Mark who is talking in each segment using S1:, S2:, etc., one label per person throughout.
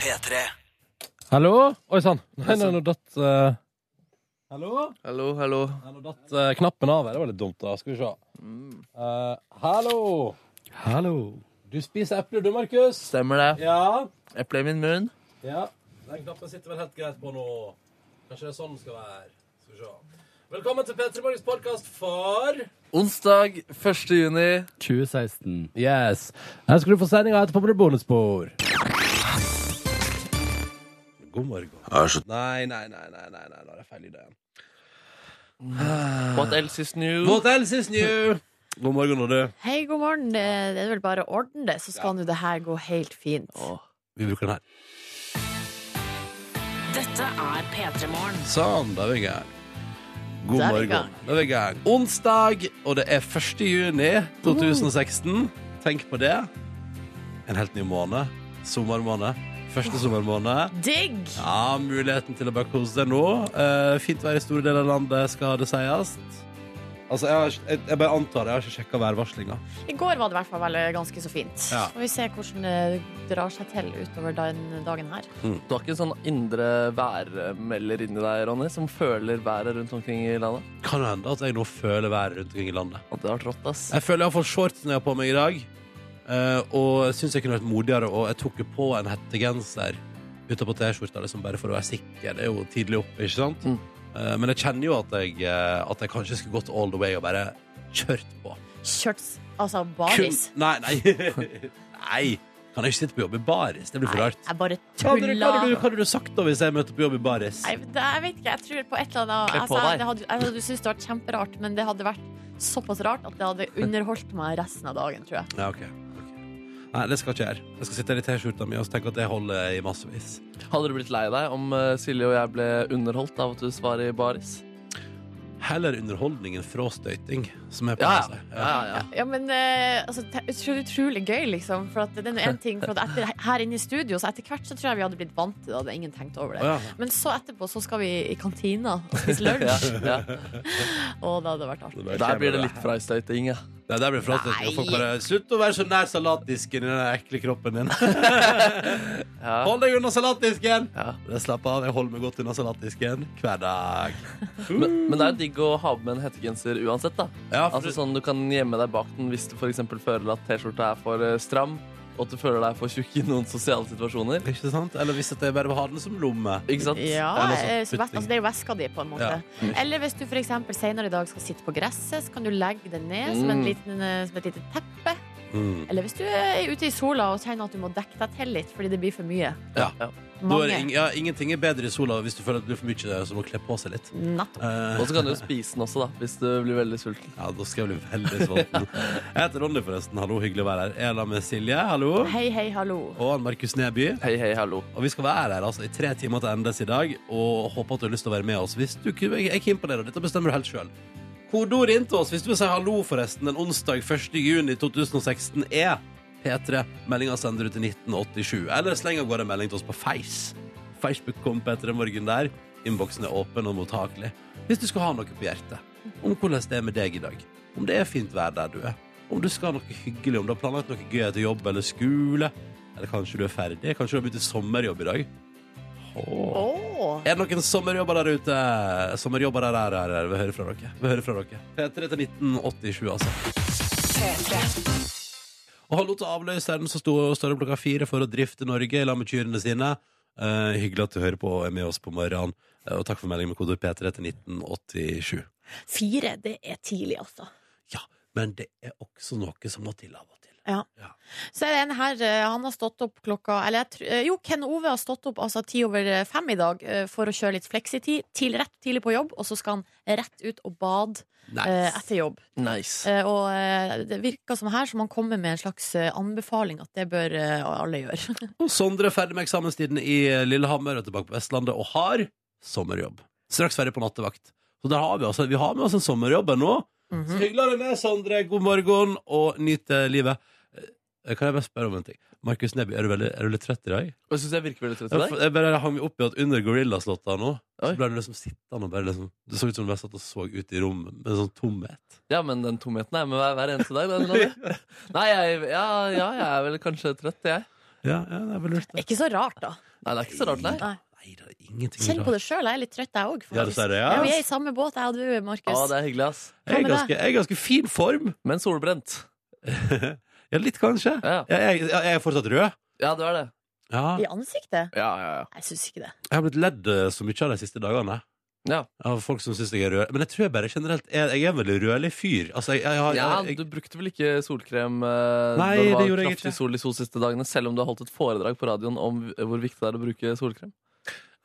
S1: P3.
S2: Hallo? Oi sann. Nei, nei, nå datt eh, Hallo?
S3: Hallo, hallo.
S2: Nei, nå datt eh, knappen av her. Det var litt dumt, da. Skal vi se. Eh, hallo!
S4: Hallo.
S2: Du spiser eple, du, Markus?
S3: Stemmer det.
S2: Ja.
S3: Eple i min munn.
S2: Ja. Den knappen sitter vel helt greit på nå. Kanskje det er sånn det skal være. Skal vi se. Velkommen til P3 Morgens podkast for
S3: Onsdag 1. juni.
S4: 2016.
S2: Yes. Her skal du få sendinga etterpå med bonusspor. God morgen. Nei, nei, nei, nei, nei, nei, nå er det feil lyd igjen.
S3: What else is new?
S2: What else is new? God morgen, og du.
S5: Hei, god morgen. Det det er vel bare å ordne det, så skal nå det her gå helt fint.
S2: Vi bruker den her.
S6: Dette er P3 Morgen.
S2: Sånn, da er vi i gang. God
S5: Da er vi i
S2: morgen.
S5: gang.
S2: Da er vi i gang. Onsdag, og det er 1. juni 2016. Tenk på det. En helt ny måned. Sommermåned. Første sommermåned.
S5: Digg!
S2: Ja, muligheten til å bare kose seg nå. Eh, fint vær i store deler av landet, skal det sies. Altså, jeg, har ikke- jeg, jeg bare antar det. Jeg har ikke sjekka værvarslinga.
S5: I går var det i hvert fall vel ganske så fint.
S2: Ja.
S5: Så får vi se hvordan det drar seg til utover den dagen her.
S3: Du har ikke en sånn indre værmelder inni deg, Ronny, som føler været rundt omkring i landet?
S2: Kan det hende at jeg nå føler været rundt omkring i landet.
S3: Og det har trått, ass.
S2: Jeg føler jeg har fått shortsen jeg har på meg i dag, eh, og syns jeg kunne vært modigere. Og jeg tok jo på en hettegenser utapå T-skjorta liksom bare for å være sikker. Det er jo tidlig oppe, ikke sant?
S3: Mm.
S2: Eh, men jeg kjenner jo at jeg, eh, at jeg kanskje skulle gått all the way og bare kjørt på.
S5: Kjørts, altså baris.
S2: Kun- Nei, nei. nei. Kan jeg ikke sitte på jobb i baris? Det blir for rart.
S5: Jeg bare
S2: Hva hadde, du, hva, hadde du,
S5: tulla.
S2: hva hadde du sagt da hvis jeg møter på jobb i baris?
S5: Nei, det- Jeg vet ikke, jeg tror på et eller annet
S3: Kle på
S5: altså,
S3: deg.
S5: det hadde, jeg hadde syntes det hadde vært kjemperart, men det hadde vært såpass rart at det hadde underholdt meg resten av dagen, tror jeg.
S2: Ja, ok. ok. Nei, det skal ikke jeg gjøre. Jeg skal sitte her i T-skjorta mi og tenke at det holder i massevis.
S3: Hadde du blitt lei deg om eh, Silje og jeg ble underholdt av at du svarer i baris?
S2: Heller underholdningen fra støyting, som er på
S3: Ja, ja.
S2: seg.
S3: Altså, ja, ja,
S5: Ja, men eh, altså, det er utro- utrolig gøy, liksom. For at det er nå en ting for at etter, Her inne i studio, så etter hvert så tror jeg vi hadde blitt vant til det. Hadde ingen tenkt over det.
S2: Å, ja.
S5: Men så etterpå så skal vi i kantina og spise
S3: ja,
S5: lunsj.
S3: ja.
S5: Og det hadde vært artig.
S3: Der blir det litt frastøyting, ja.
S2: Nei, der blir det frastøyting. Og folk bare Slutt å være så nær salatdisken i den ekle kroppen din.
S3: ja.
S2: Hold deg unna salatdisken!
S3: Ja.
S2: Jeg Slapp av, jeg holder meg godt unna salatdisken hver dag.
S3: Men, men det er jo digg å ha med en hettegenser uansett, da.
S2: Ja, for
S3: Altså sånn Du kan gjemme deg bak den hvis du for eksempel føler at T-skjorta er for eh, stram, og at du føler deg for tjukk i noen sosiale situasjoner.
S2: Ikke sant? Eller hvis at jeg bare vil ha den som lomme.
S3: Ikke sant?
S5: Ja,
S2: Det er noe sånn
S5: eh, så ves-
S2: putting.
S5: altså, det er jo veska di, på en måte. Eller hvis du f.eks. senere i dag skal sitte på gresset, så kan du legge det ned som, en
S3: Mm.
S5: liten, eh, som et lite teppe.
S2: Mm.
S5: Eller hvis du er ute i sola og kjenner at du må dekke deg til litt fordi det blir for mye.
S2: Ja.
S3: Ja.
S2: Da er det ing
S5: Mange.
S2: ja, ingenting er bedre i sola hvis du føler at det blir for mye, så må du kle på seg litt.
S5: Nettopp.
S2: Eh,
S3: Og så kan du jo spise den også, da, hvis du blir veldig sulten.
S2: ja, da skal jeg bli veldig sulten. Jeg heter Ronny, forresten. Hallo, hyggelig å være her. Jeg er sammen med Silje, hallo.
S5: Hei, hei, hallo.
S2: Og han Markus Neby.
S3: Hei, hei, hallo.
S2: Og vi skal være her altså, i tre timer til endes i dag, og håper at du har lyst til å være med oss. Hvis du ikke- jeg er keen på det, og dette bestemmer du helt sjøl. Kodeordet inn til oss hvis du vil si hallo, forresten, en onsdag 1. juni 2016 er P3. Meldinga sender du til 1987. Eller sleng av gårde en melding til oss på Face. Facebook kom P3 Morgen der. Innboksen er åpen og mottakelig. Hvis du skal ha noe på hjertet om hvordan det er med deg i dag, om det er fint vær der du er, om du skal ha noe hyggelig, om du har planlagt noe gøy etter jobb eller skole, eller kanskje du er ferdig, kanskje du har begynt i sommerjobb i dag. Åh.
S5: Åh.
S2: Er det noen sommerjobber der ute? Sommerjobber der, der, der, der. Vi hører fra dere. Vi hører fra dere. P3 til 1987, altså. Og hallo til avløseren som sto- står opp klokka fire for å drifte Norge i lag med kyrne sine. Eh, hyggelig at du hører på og er med oss på morgenen. Eh, og takk for meldingen med kodeord P3 til 1987.
S5: Fire, det er tidlig, altså.
S2: Ja, men det er også noe som må til av og til.
S5: Så er det en her, eh, han har stått opp klokka eller jeg, tr- eh, Jo, Ken Ove har stått opp altså ti over eh, fem i dag eh, for å kjøre litt fleksitid. Til, rett tidlig på jobb, og så skal han rett ut og bade eh, etter jobb.
S3: Nice.
S5: Eh, og eh, det virker som her som han kommer med en slags eh, anbefaling at det bør eh, alle gjøre.
S2: Og Sondre er ferdig med eksamenstiden i eh, Lillehammer og tilbake på Vestlandet og har sommerjobb. Straks ferdig på nattevakt. Så der har vi, altså, vi har med oss en sommerjobb ennå.
S5: Mhm.
S3: Mhm.
S2: Så hyggelig å ha deg med, Sondre. God morgen, og nyt eh, livet. Eh, Kan jeg bare spørre om en ting? Markus Neby, er du, veldig, er du litt trøtt i dag?
S3: Og jeg syns jeg virker veldig trøtt i
S2: Jeg,
S3: dag.
S2: jeg bare hang meg opp i at under Gorillas-låta nå,
S3: Oi.
S2: så ble du liksom sittende og bare liksom Det så ut som du bare satt og så ut i rommet med en sånn tomhet.
S3: Ja, men den tomheten er med hver, hver eneste dag. Den, Ronny. Nei, jeg, ja, ja, jeg er vel kanskje trøtt, jeg.
S2: Ja, ja det er vel lurt, det.
S5: Ikke så rart, da.
S3: Nei, det er ikke så rart, nei.
S5: Nei.
S2: Nei, det er ingenting
S5: Kjenn på det sjøl, jeg er litt trøtt, jeg òg.
S2: Ja, dessverre, ja.
S5: vi er i samme båt, jeg og du, Markus.
S3: Ja, det er hyggelig, ass.
S2: Jeg er
S5: Hva med
S2: ganske, jeg er ganske fin form.
S3: Men solbrent.
S2: ja, litt kanskje.
S3: Ja,
S2: Jeg, jeg, jeg er fortsatt rød.
S3: ja du er det.
S2: Ja.
S5: I ansiktet?
S3: Ja, ja, ja.
S5: Jeg syns ikke det.
S2: Jeg har blitt ledd eh, så mye av de siste dagene.
S3: Ja.
S2: Av folk som syns jeg er rød. Men jeg tror jeg bare generelt er, jeg er en veldig rødlig fyr. Altså, jeg, jeg, har-
S3: Ja,
S2: jeg,
S3: du brukte vel ikke solkrem eh,
S2: Nei,
S3: når det
S2: det
S3: var
S2: gjorde jeg
S3: kraftig
S2: ikke.
S3: sol de to siste dagene, selv om du har holdt et foredrag på radioen om hvor viktig det er å bruke solkrem?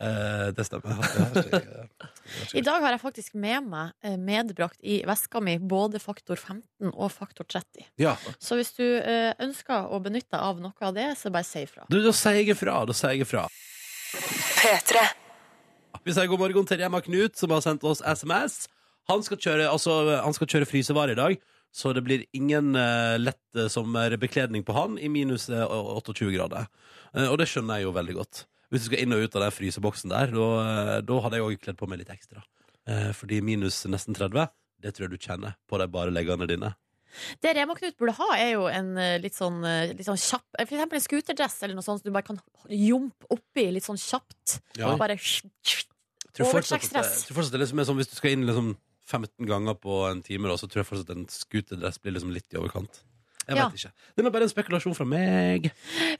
S2: eh, det stemmer. Jeg har ikke-
S5: I dag har jeg faktisk med meg eh, medbrakt i veska mi både faktor 15 og faktor 30.
S2: Ja.
S5: Så hvis du eh, ønsker å benytte deg av noe av det, så bare si ifra.
S2: Du, da sier jeg ifra. Da sier jeg ifra. Vi sier god morgen til Emma Knut, som har sendt oss SMS. Han skal kjøre, altså, han skal kjøre frysevare i dag, så det blir ingen eh, lett eh, sommerbekledning på han i minus eh, 28 grader. Eh, og det skjønner jeg jo veldig godt. Hvis du skal inn og ut av den fryseboksen der, da eh, da hadde jeg òg kledd på meg litt ekstra. Eh, fordi minus nesten 30, det tror jeg du kjenner på de bare leggene dine.
S5: Det Rema Knut burde ha, er jo en eh, litt sånn, eh, litt sånn kjapp eh, For eksempel en scooterdress eller noe sånt som du bare kan jumpe oppi litt sånn kjapt.
S2: Ja.
S5: Og bare
S2: tror fortsatt at det,
S5: Overslagsdress.
S2: tror fortsatt det liksom er sånn, Hvis du skal inn liksom 15 ganger på en time, da, så tror jeg fortsatt en scooterdress blir liksom litt i overkant. Jeg
S5: Ja.
S2: vet ikke. Den er bare en spekulasjon fra meg.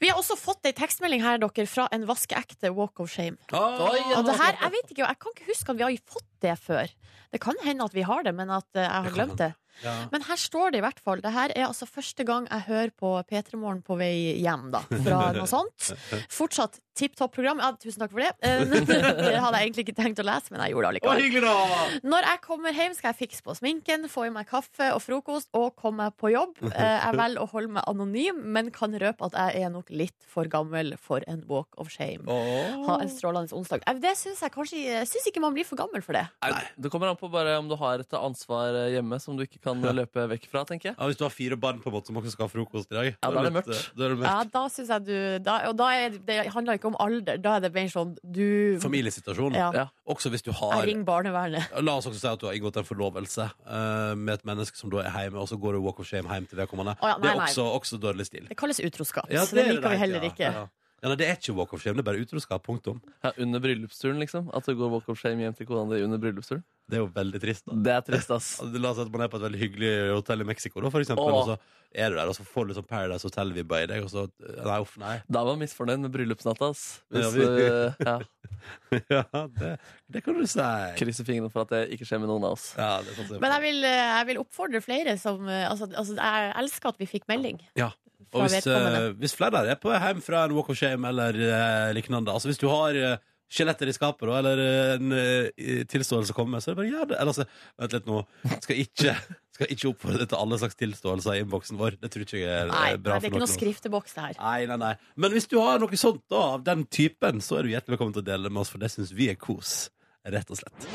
S5: Vi har også fått ei tekstmelding her, dere, fra en vaskeekte walk of shame.
S2: Oi,
S5: Og det her, jeg vet ikke, jeg kan ikke huske at vi har fått det før. Det kan hende at vi har det, men at eh, jeg
S2: Det
S5: har
S2: kan
S5: glemt det.
S2: ja.
S5: Men her står det i hvert fall. Det her er altså første gang jeg hører på P3 Morgen på vei hjem, da. Fra noe sånt. Fortsatt tipp topp program. Ja, tusen takk for det. Eh, Det hadde jeg egentlig ikke tenkt å lese, men jeg gjorde det
S2: Å,
S5: allikevel.
S2: hyggelig, da!
S5: Når jeg kommer hjem, skal jeg fikse på sminken, få i meg kaffe og frokost og komme meg på jobb. Eh, Jeg velger å holde meg anonym, men kan røpe at jeg er nok litt for gammel for en walk of shame. Ha en strålende onsdag. Eh, Det syns jeg kanskje Jeg syns ikke man blir for gammel for det.
S3: Nei. Det kommer an på bare om du har et ansvar eh, hjemme som du ikke kan eh, løpe vekk fra, tenker jeg.
S2: Ja, hvis du har fire barn på en måte som også skal ha frokost i dag
S3: Ja, da er det
S2: litt,
S3: mørkt.
S2: eh, Da er det mørkt.
S5: Ja, da synes jeg du da, Og da er, det handler ikke om alder Da er det mer sånn du,
S2: Familiesituasjon.
S5: Ja.
S3: Ja.
S2: Også hvis du
S5: Jeg
S2: har
S5: ringer barnevernet
S2: La oss også si at du har inngått en forlovelse eh, med et menneske som da er hjemme, og så går du walk of shame hjem til vedkommende.
S5: Å, ja,
S2: det
S5: nei,
S2: er
S5: nei.
S2: også, også dårlig stil.
S5: Det kalles utroskap
S2: Ja,
S5: Så det
S2: er
S5: liker vi
S2: helt,
S5: heller
S2: ja.
S5: ikke
S2: Ja. Ja, nei, det er ikke walk of shame, det er bare utroskap. Punktum.
S3: Ja, under bryllupsturen, liksom. At du går walk of shame hjem til kona di under bryllupsturen.
S2: Det er jo veldig trist. da
S3: Det er trist, ass.
S2: Altså, La oss si at man er på et veldig hyggelig hotell i Mexico, da, for eksempel,
S3: Åh.
S2: og så er du der, og så får du sånn Paradise Hotel-vibba i deg, og så eh, Nei, uff, nei.
S3: Da var jeg misfornøyd med bryllupsnatta, ass. Hvis,
S2: Ja, vi-
S3: eh, ja,
S2: ja, det, det kan du si.
S3: krysser fingrene for at det ikke skjer med noen av oss.
S2: Ja, det er sånn sant, det.
S5: Men jeg vil, jeg vil oppfordre flere som altså, altså, Jeg elsker at vi fikk melding
S2: Ja.
S5: Fra
S2: Og hvis,
S5: vedkommende
S2: eh, hvis flere er på hjem fra en walk of shame eller eh, lignende Altså hvis du har eh, skjeletter i skapet da, eller eh, en eh, tilståelse å komme med, så er det bare gjør det. Eller altså, vent litt nå. Skal ikke, skal ikke oppfordre til alle slags tilståelser i innboksen vår. Det tror ikke jeg er eh,
S5: Nei, det
S2: bra
S5: er
S2: for
S5: ikke
S2: noen.
S5: noe skrifteboks det her
S2: Nei, nei, nei. Men hvis du har noe sånt da, av den typen, så er du hjertelig velkommen til å dele det med oss, for det syns vi er kos. Rett og slett.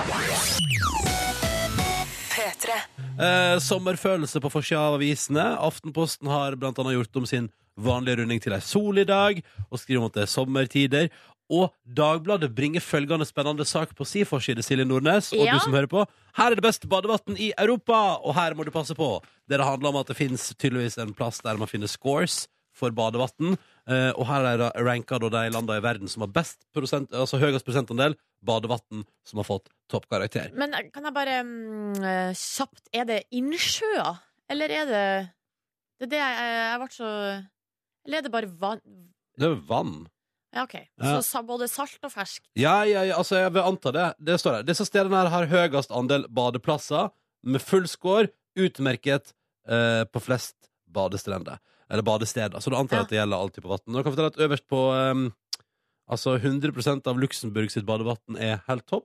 S2: Eh, sommerfølelse på forsida av avisene. Aftenposten har blant annet gjort om sin vanlige runding til ei sol i dag, og skriver om at det er sommertider. Og Dagbladet bringer følgende spennende sak på si forside, Silje Nordnes, og
S5: Ja.
S2: du som hører på. Her er det beste badevann i Europa, og her må du passe på. Det det handler om at det fins tydeligvis en plass der man finner scores for badevann. Eh, og her er det ranka da de landene i verden som har best prosent, altså høyest prosentandel badevann som har fått toppkarakter.
S5: Men eh, kan jeg bare mm, eh, kjapt Er det innsjøer? Eller er det Det er det jeg, jeg ble så Eller er det bare vann?
S2: Det er jo vann.
S5: Ja, ok
S2: Ja.
S5: Så sa- både salt og fersk
S2: Ja, ja, ja, altså jeg vil anta det. Det står der. Disse stedene her har høyest andel badeplasser med full score, utmerket eh, på flest badestrender. Eller badesteder. Så du antar jeg at det gjelder all type vann. Og jeg kan fortelle at øverst på eh, Altså 100 av Luxemburg sitt badevann er helt topp.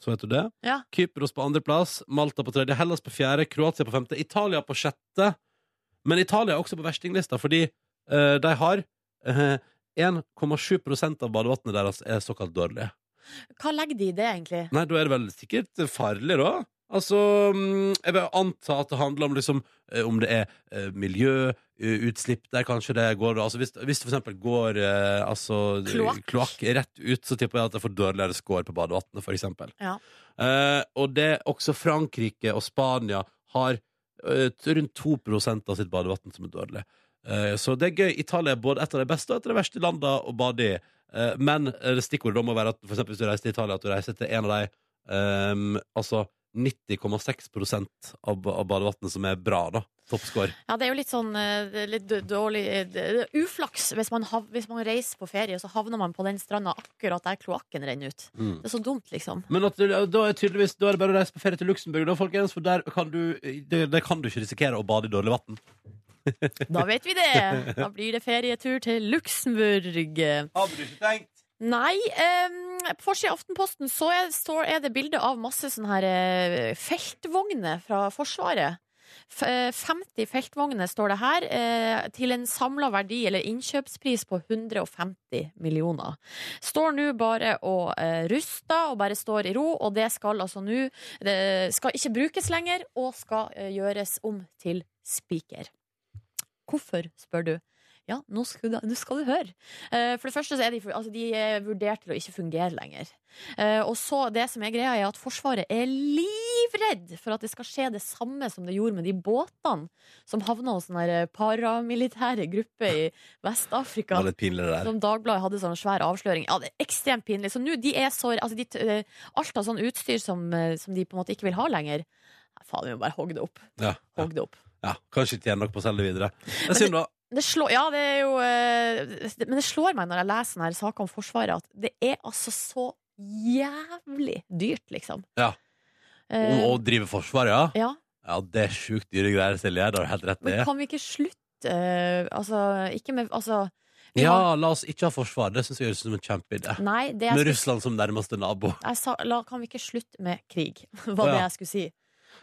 S2: Så vet du det.
S5: Ja.
S2: Kypros på andreplass, Malta på tredje, Hellas på fjerde, Kroatia på femte, Italia på sjette. Men Italia er også på verstinglista, fordi eh, de har eh, 1,7 av badevannet deres er såkalt dårlig.
S5: Hva legger de i det egentlig?
S2: Nei, da er det vel sikkert farlig, da. Altså, mm, jeg vil anta at det handler om liksom eh, Om det er eh, miljø, eh, utslipp der kanskje det går altså Hvis, hvis det for eksempel går eh, altså,
S5: Kloakk.
S2: kloakk rett ut, så tipper jeg at jeg får dårligere score på badevannet, for eksempel.
S5: Ja.
S2: Eh, og det også Frankrike og Spania har eh, t- rundt 2 av sitt badevann som er dårlig. Eh, Så det er gøy. Italia er både et av de beste og et av de verste landene å bade i. Eh, Men eh, stikkordet da må være at for eksempel hvis du reiser til Italia, at du reiser til en av de ehm, altså 90,6 av, ba- av badevannet som er bra, da. Toppscore.
S5: Ja, det er jo litt sånn eh, det er litt d- dårlig eh, det er Uflaks hvis man, hav, hvis man reiser på ferie, så havner man på den stranda akkurat der kloakken renner ut. Det er så dumt, liksom.
S2: Men at, det- da er tydeligvis Da er det bare å reise på ferie til Luxembourg, da, folkens. For der kan du det, det kan du ikke risikere å bade i dårlig vann.
S5: Da vet vi det! Da blir det ferietur til Luxembourg.
S2: Hadde du ikke tenkt?
S5: Nei, eh, på forsida av Aftenposten så er, står, er det bilde av masse sånne her eh, feltvogner fra Forsvaret. F eh, 50 feltvogner står det her, eh, til en samla verdi eller innkjøpspris på 150 millioner. Står nå bare og eh, ruster og bare står i ro, og det skal altså nå Det skal ikke brukes lenger og skal eh, gjøres om til spiker. Hvorfor, spør du? Ja, nå skal du, nå skal du høre. Eh, For det første så er de, altså de er vurdert til å ikke fungere lenger. Eh, Og så det som er greia er at Forsvaret er livredd for at det skal skje det samme som det gjorde med de båtene som havna hos den der paramilitære gruppe i
S2: Det
S5: Vest-Afrika.
S2: var litt pinlig, det der.
S5: Som Dagbladet hadde sånn svær avsløring. Ja, det er ekstremt pinlig. Så nå, de er så altså, de, eh, Alt av sånn utstyr som, eh, som de på en måte ikke vil ha lenger. Nei, faen, vi må bare hogge det opp.
S2: Ja, ja,
S5: Hogg det opp.
S2: ja. Kanskje ikke tjene nok på å selge det videre. Det er synd, da.
S5: Det slår, ja, det er jo eh, det- Men det slår meg når jeg leser sånne her saker om Forsvaret, at det er altså så jævlig dyrt, liksom.
S2: Ja. Å
S5: Eh,
S2: å drive forsvar, ja.
S5: ja.
S2: Ja, det er sjukt dyre greier, Silje. Det har du helt rett i.
S5: Men kan vi ikke slutte eh, Altså, ikke med Altså vi har-
S2: Ja, la oss ikke ha forsvar. Det syns jeg høres ut som en kjempeidé.
S5: Nei, det
S2: Med
S5: jeg skulle,
S2: Russland som nærmeste nabo.
S5: jeg sa, la, kan vi ikke slutte med krig, var
S2: Å,
S5: det
S2: ja.
S5: jeg skulle si.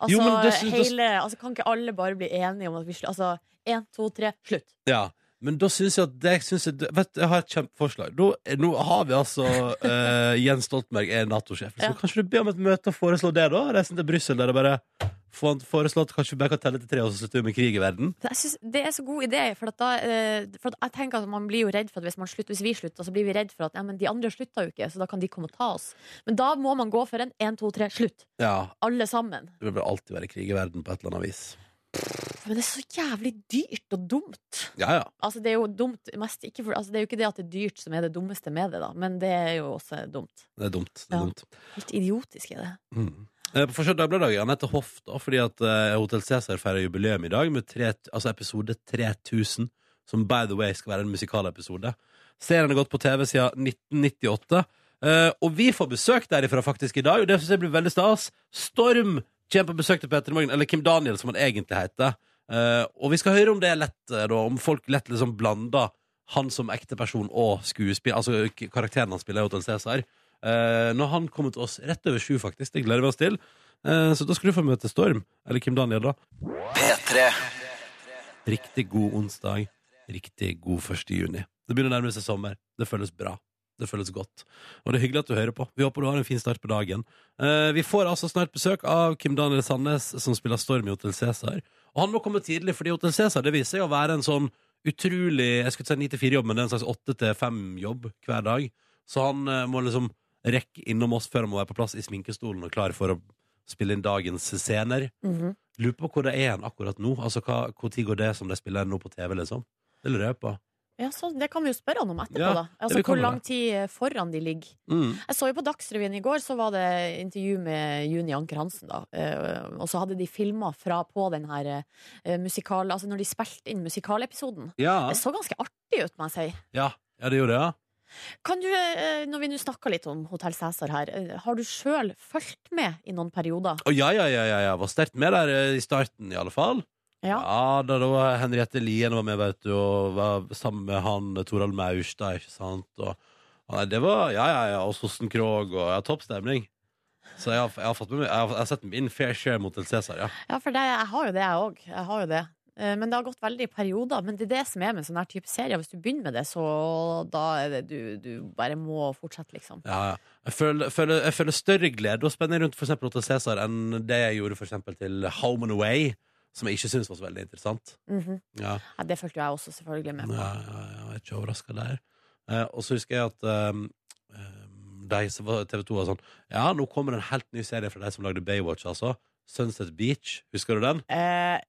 S5: Altså,
S2: Jo, men det synes-
S5: hele, altså, kan ikke alle bare bli enige om at vi slutter? Altså, én, to, tre, slutt.
S2: Ja. Men da syns jeg at det syns jeg, Vet du, jeg har et kjempeforslag. Nå, nå har vi altså eh, Jens Stoltenberg er Nato-sjef. Så
S5: Ja.
S2: Kanskje du ber om et møte og foreslå det, da? Reisen til Brussel der og bare få han foreslå at kanskje vi bare kan telle til tre, og så slutter vi med krig i verden?
S5: Jeg synes det er så god idé, for, at da, eh, for at jeg tenker at man blir jo redd for at hvis, man slutter, hvis vi slutter, så blir vi redd for at ja, men de andre slutta jo ikke, så da kan de komme og ta oss. Men da må man gå for en én, to, tre, slutt.
S2: Ja.
S5: Alle sammen.
S2: Det vil vel alltid være krig i verden på et eller annet vis.
S5: Men det er så jævlig dyrt og dumt.
S2: Ja, ja.
S5: Altså, det er jo dumt mest ikke for, altså, Det er jo ikke det at det er dyrt som er det dummeste med det, da, men det er jo også dumt.
S2: Det er dumt. Det er
S5: Ja.
S2: dumt.
S5: Helt idiotisk er det.
S2: Mm. Eh, På Forsøk Dagbladet i dag, Anette Hoff, da, fordi at eh, Hotel Cæsar feirer jubileum i dag med tre, altså episode 3000, som by the way skal være en musikalepisode. Serien har gått på TV siden 1998, eh, og vi får besøk derifra faktisk i dag, og det synes jeg blir veldig stas. Storm kommer på besøk til Peter Morgen, eller Kim Daniel, som han egentlig heter. Eh, og vi skal høre om det er lett, eh, da, om folk lett liksom blander han som ekte person og skuespiller, altså k- karakteren han spiller i Hotel Cæsar. Eh, når han kommer til oss rett over sju, faktisk. Det gleder vi oss til. Eh, så da skal du få møte Storm, eller Kim Daniel, da. Riktig god onsdag. Riktig god 1. juni. Det begynner å nærme seg sommer. Det føles bra. Det føles godt. Og det er hyggelig at du hører på. Vi håper du har en fin start på dagen. Eh, vi får altså snart besøk av Kim Daniel Sandnes, som spiller Storm i Hotel Cæsar. Og han må komme tidlig, fordi Hotel Cæsar det viser seg å være en sånn utrolig Jeg skulle ikke si 9-4-jobb, men det er en slags 8-5-jobb hver dag. Så han eh, må liksom rekke innom oss før han må være på plass i sminkestolen og klar for å spille inn dagens scener.
S5: Mhm.
S2: Lurer på hvor det er han akkurat nå. Altså, hva, Hvor tid går det som de spiller nå på TV, liksom? Det lurer jeg på.
S5: Ja, så Det kan vi jo spørre han om etterpå,
S2: Ja,
S5: da. Altså
S2: vi kan
S5: Hvor
S2: jo
S5: lang
S2: det.
S5: tid foran de ligger.
S2: Mm.
S5: Jeg så jo på Dagsrevyen i går, så var det intervju med Juni Anker Hansen, da. Eh, Og så hadde de filma fra på den her eh, musikal... Altså når de spilte inn musikalepisoden.
S2: Ja.
S5: Det så ganske artig ut, må jeg si.
S2: ja. Ja, det gjorde det, ja.
S5: Kan du, eh, når vi nå snakker litt om Hotell Cæsar her, eh, har du sjøl fulgt med i noen perioder?
S2: Å, ja, ja, ja, ja, ja. Var sterkt med der eh, i starten, i alle fall.
S5: Ja.
S2: da, da var Henriette Lien var med, vet du, og var sammen med han eh, Torald Maurstad, ikke sant? Og, og nei, det var Ja, ja, ja. Og Sossen Krog, og ja, topp stemning. Så jeg har, jeg har, fått med, meg- jeg har, jeg har sett min fair share mot El Cæsar, ja.
S5: Ja, for det, jeg har jo det, jeg òg. Jeg har jo det. Eh, Men det har gått veldig i perioder. Men det er det som er med sånne her type serier. Hvis du begynner med det, så da er det du, du bare må fortsette, liksom.
S2: Ja, ja. Jeg føler, føler, jeg føler større glede og spenning rundt for eksempel Hotel Cæsar enn det jeg gjorde for eksempel til Home and Away, som jeg ikke syns var så veldig interessant.
S5: Mhm.
S2: Ja,
S5: Ja, det fulgte jo jeg også selvfølgelig
S2: ja,
S5: med på.
S2: ja, ja jeg er ikke overraska der. Eh, og så husker jeg at ehm, ehm, de som var TV 2 var sånn Ja, nå kommer en helt ny serie fra de som lagde Baywatch, altså. Sunset Beach. Husker du den?
S5: Eh,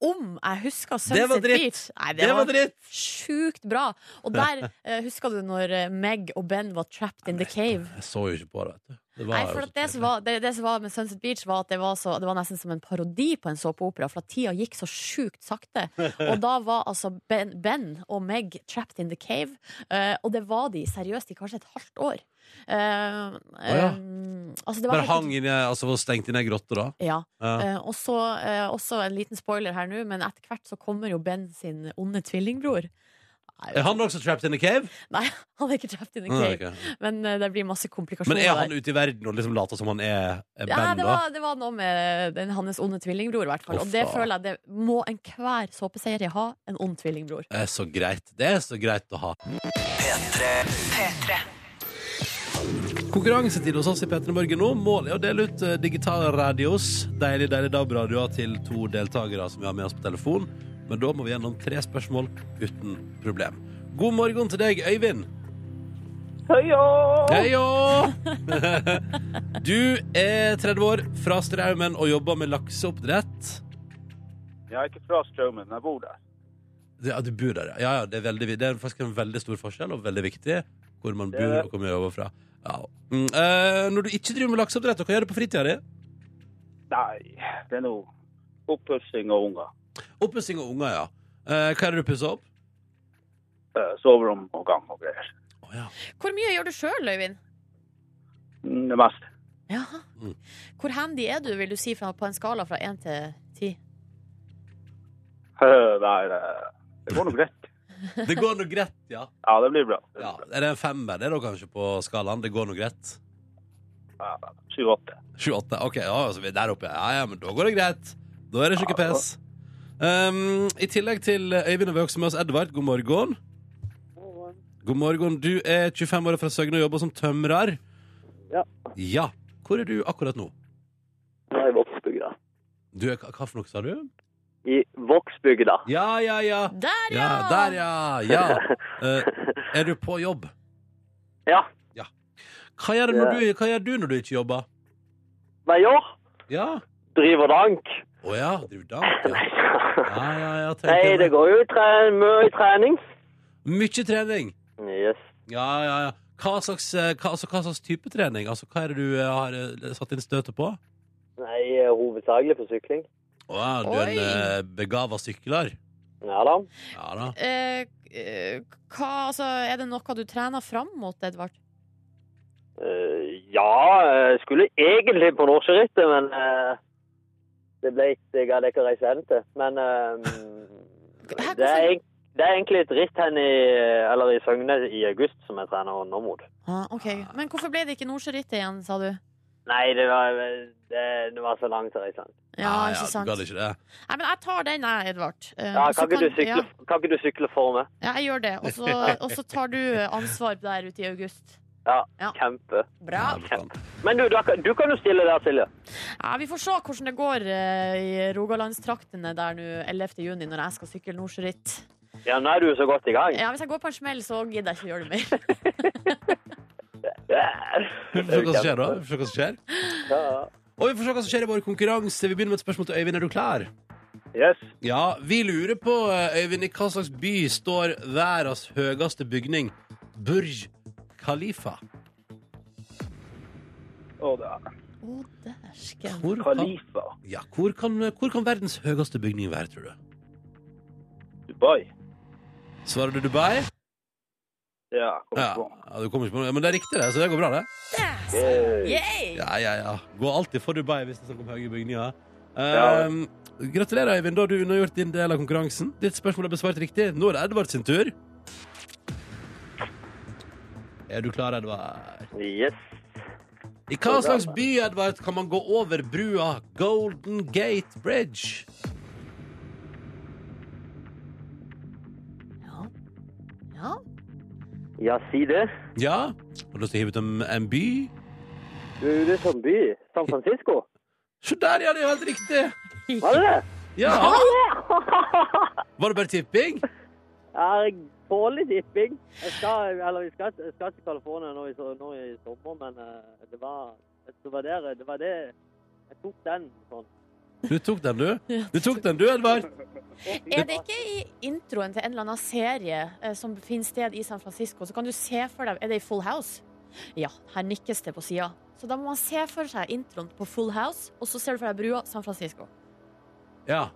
S5: om jeg husker
S2: Det var
S5: Sunset
S2: dritt.
S5: Beach. Nei,
S2: Det var dritt!
S5: sjukt bra. Og der eh, husker du når eh, Meg og Ben var trapped in the cave.
S2: Jeg så jo ikke på det, vet du. Det var
S5: Nei,
S2: jo så
S5: for at det, som
S2: trivelig.
S5: var, det, det som var med Sunset Beach, var at det var, så, det var nesten som en parodi på en såpeopera. For at tida gikk så sjukt sakte. Og da var altså Ben, ben og Meg trapped in the cave. eh, og det var de seriøst i kanskje et halvt år. Eh,
S2: ja.
S5: eh, altså, det var
S2: Bare
S5: helt-
S2: hang inne, altså var stengt inne i ei grotte, da.
S5: Ja.
S2: Ja.
S5: Eh, og så, eh, også en liten spoiler her nå, men etter hvert så kommer jo Ben sin onde tvillingbror. Nei,
S2: Er han også trapped in a cave?
S5: Nei, han er ikke trapped in the
S2: Nei,
S5: cave,
S2: ok.
S5: men eh, det blir masse komplikasjoner.
S2: Men er han
S5: der.
S2: ute i verden og liksom later som han er er
S5: Ja,
S2: Ben,
S5: det
S2: da?
S5: var, det var noe med den, hans onde tvillingbror, i hvert fall.
S2: Å,
S5: og det
S2: faen.
S5: føler jeg det må enhver såpeserie ha. En ond tvillingbror.
S2: Det er Eh, så greit. Det er så greit å ha. Konkurransetid hos oss i P3 Morgen nå. Målet er å dele ut eh, digitale radios. Deilig, deilig DAB-radioer til to deltakere som vi har med oss på telefon. Men da må vi gjennom tre spørsmål uten problem. God morgen til deg, Øyvind. Heio! Du er 30 år, fra Straumen og jobber med lakseoppdrett.
S1: Jag är inte från Strömmen, jag bor där.
S2: Det, ja, du bor der, ja. ja. ja, Det er, veldig, det er faktisk en veldig stor forskjell, og veldig viktig, hvor man
S1: Det
S2: bor
S1: er det.
S2: og hvor man jobber fra. Ja. Mm, eh, når du ikke driver med lakseoppdrett, hva gjør du på fritida di?
S1: Nej, det är nog upppussning och unga.
S2: Oppussing og unger, ja. Eh, hva er det du pusser opp?
S1: Eh, Sovrum och gang och grejer.
S2: Å, ja.
S5: Hvor mye gjør du sjøl, Øyvind?
S1: Mm, Det mesta.
S5: Jaha.
S2: Mm.
S5: Hvor handy er du, vil du si, fra, på en skala fra én til ti?
S1: Eh, Nej, det- det går nog rätt.
S2: Det går nå greit, ja.
S1: Ja, det blir bra. Det blir
S2: ja.
S1: bra.
S2: Er det en femmer det er da kanskje på skalaen? Det går nå greit?
S1: Ja, 7-8.
S2: 7-8. Ok, ja, altså, vi er der oppe. Ja, ja, men da går det greit. Da er det ikke
S1: Ja,
S2: pes. Um, I tillegg til Øyvind har vi også med oss Edvard. God morgen. God morgen. Du er 25 år og fra Søgne og jobber som tømrer.
S1: Ja.
S2: Ja. Hvor er du akkurat nå?
S1: Jag är i Våxbygda.
S2: Du er, hva for noe, sa du?
S1: I Våxbygda?
S2: Ja, ja, ja.
S5: Der,
S2: Ja,
S5: ja!
S2: der, ja. ja. Eh, er du på jobb?
S1: Ja.
S2: Hva gjør, du når du, hva gjør du når du ikke jobber?
S1: Men jag
S2: Ja.
S1: driver dank.
S2: Å ja, driver du dank? Ja, ja, ja. ja tenker
S1: Nej, det
S2: jeg.
S1: går ju tre- mycket träning.
S2: Mye trening.
S1: Yes.
S2: Ja, ja, ja. Hva slags, eh, hva, altså, hva slags type trening? Altså, hva er det du eh, har eh, satt inn støtet på?
S1: Nej, huvudsakligen eh, på cykling.
S2: Å ja, du er en
S5: Oi.
S2: eh, begava sykler.
S1: Ja då.
S2: Ja da.
S5: Eh, eh, hva, altså, er det noe du trener fram mot, Edvard?
S1: Eh, ja, jeg skulle egentlig på norserittet, men eh, det ble ikke, jeg hadde ikke reist hjem til. Men eh,
S5: Hæ,
S1: det, er,
S5: hvorfor-
S1: egent- det er egentlig et ritt hen i, eller i Søgne i august som jeg trener nå mot.
S5: Ah, ok. Men hvorfor ble det ikke Nordsjørittet igjen, sa du?
S1: Nei, det var, det, det var så langt til Reisland.
S5: Ja,
S2: ja,
S5: ikke sant.
S2: Du gadd ikke det.
S5: Nei, men jeg tar den, jeg, Edvard. Eh,
S1: Ja,
S5: og så
S1: kan, ikke du
S5: ja.
S1: sykle, kan ikke du sykle for meg?
S5: Ja, jeg gjør det. Og så, og så tar du ansvar der ute i august.
S1: Ja,
S5: Ja.
S1: kjempe.
S5: Bra.
S2: Ja, for faen.
S1: Men du, da, kan- du kan jo stille der, Silje.
S5: Ja, vi får se hvordan det går eh, i Rogalandstraktene der nå 11. juni, når jeg skal sykle nordsjøritt.
S1: Ja, nå er du jo så godt i gang.
S5: Ja, hvis jeg går på en smell, så gidder jeg ikke gjøre det mer.
S2: Vi får se hva som skjer, da. Vi får se hva som skjer.
S1: Ja.
S2: Og vi får se hva som skjer i vår konkurranse. Vi begynner med et spørsmål til Øyvind. Er du klar?
S1: Yes.
S2: Ja, vi lurer på, eh, Øyvind, i hva slags by står verdens høyeste bygning, Burj Khalifa?
S1: Å, det er
S5: Å, dæsken.
S2: Hvor kan,
S1: Khalifa.
S2: ja, hvor, kan, hvor kan verdens høyeste bygning være, tror du?
S1: Dubai.
S2: Svarer du Dubai?
S1: Ja, kom
S2: Ja,
S1: på.
S2: ja du kommer ikke på noe. Men det er riktig, det. Så det går bra, det.
S1: Yay.
S5: Yay!
S2: Ja, ja, ja. Gå alltid for Dubai hvis det er snakk om høye bygninger.
S1: Ja.
S2: Ehm, gratulerer, Øyvind. Da har du unnagjort din del av konkurransen. Ditt spørsmål er besvart riktig. Nå er det Edvard sin tur. Er du klar, Edvard?
S1: Yes.
S2: I hva slags by Edvard, kan man gå over brua Golden Gate Bridge?
S5: Ja. ja.
S1: Ja, si det.
S2: Ja? Har du lyst til å hive ut en, en by?
S1: Du er ute som by. San Francisco.
S2: Se der, ja! Det er jo helt riktig!
S1: Var det det?
S2: Ja! Var det bare tipping?
S1: Jeg tåler dipping. Jeg skal, eller jeg skal, jeg skal til California nå i, so- nå i sommer, men eh, det var, det var der, det var det. Jeg tok den sånn.
S2: Du tok den, du. Du tok den, du, Edvard.
S5: Er det ikke i introen til en eller annen serie eh, som finner sted i San Francisco, så kan du se for deg Er det i Full House? Ja, her nikkes det på sida. Så da må man se for seg introen på Full House, og så ser du for deg brua San Francisco.
S2: Ja.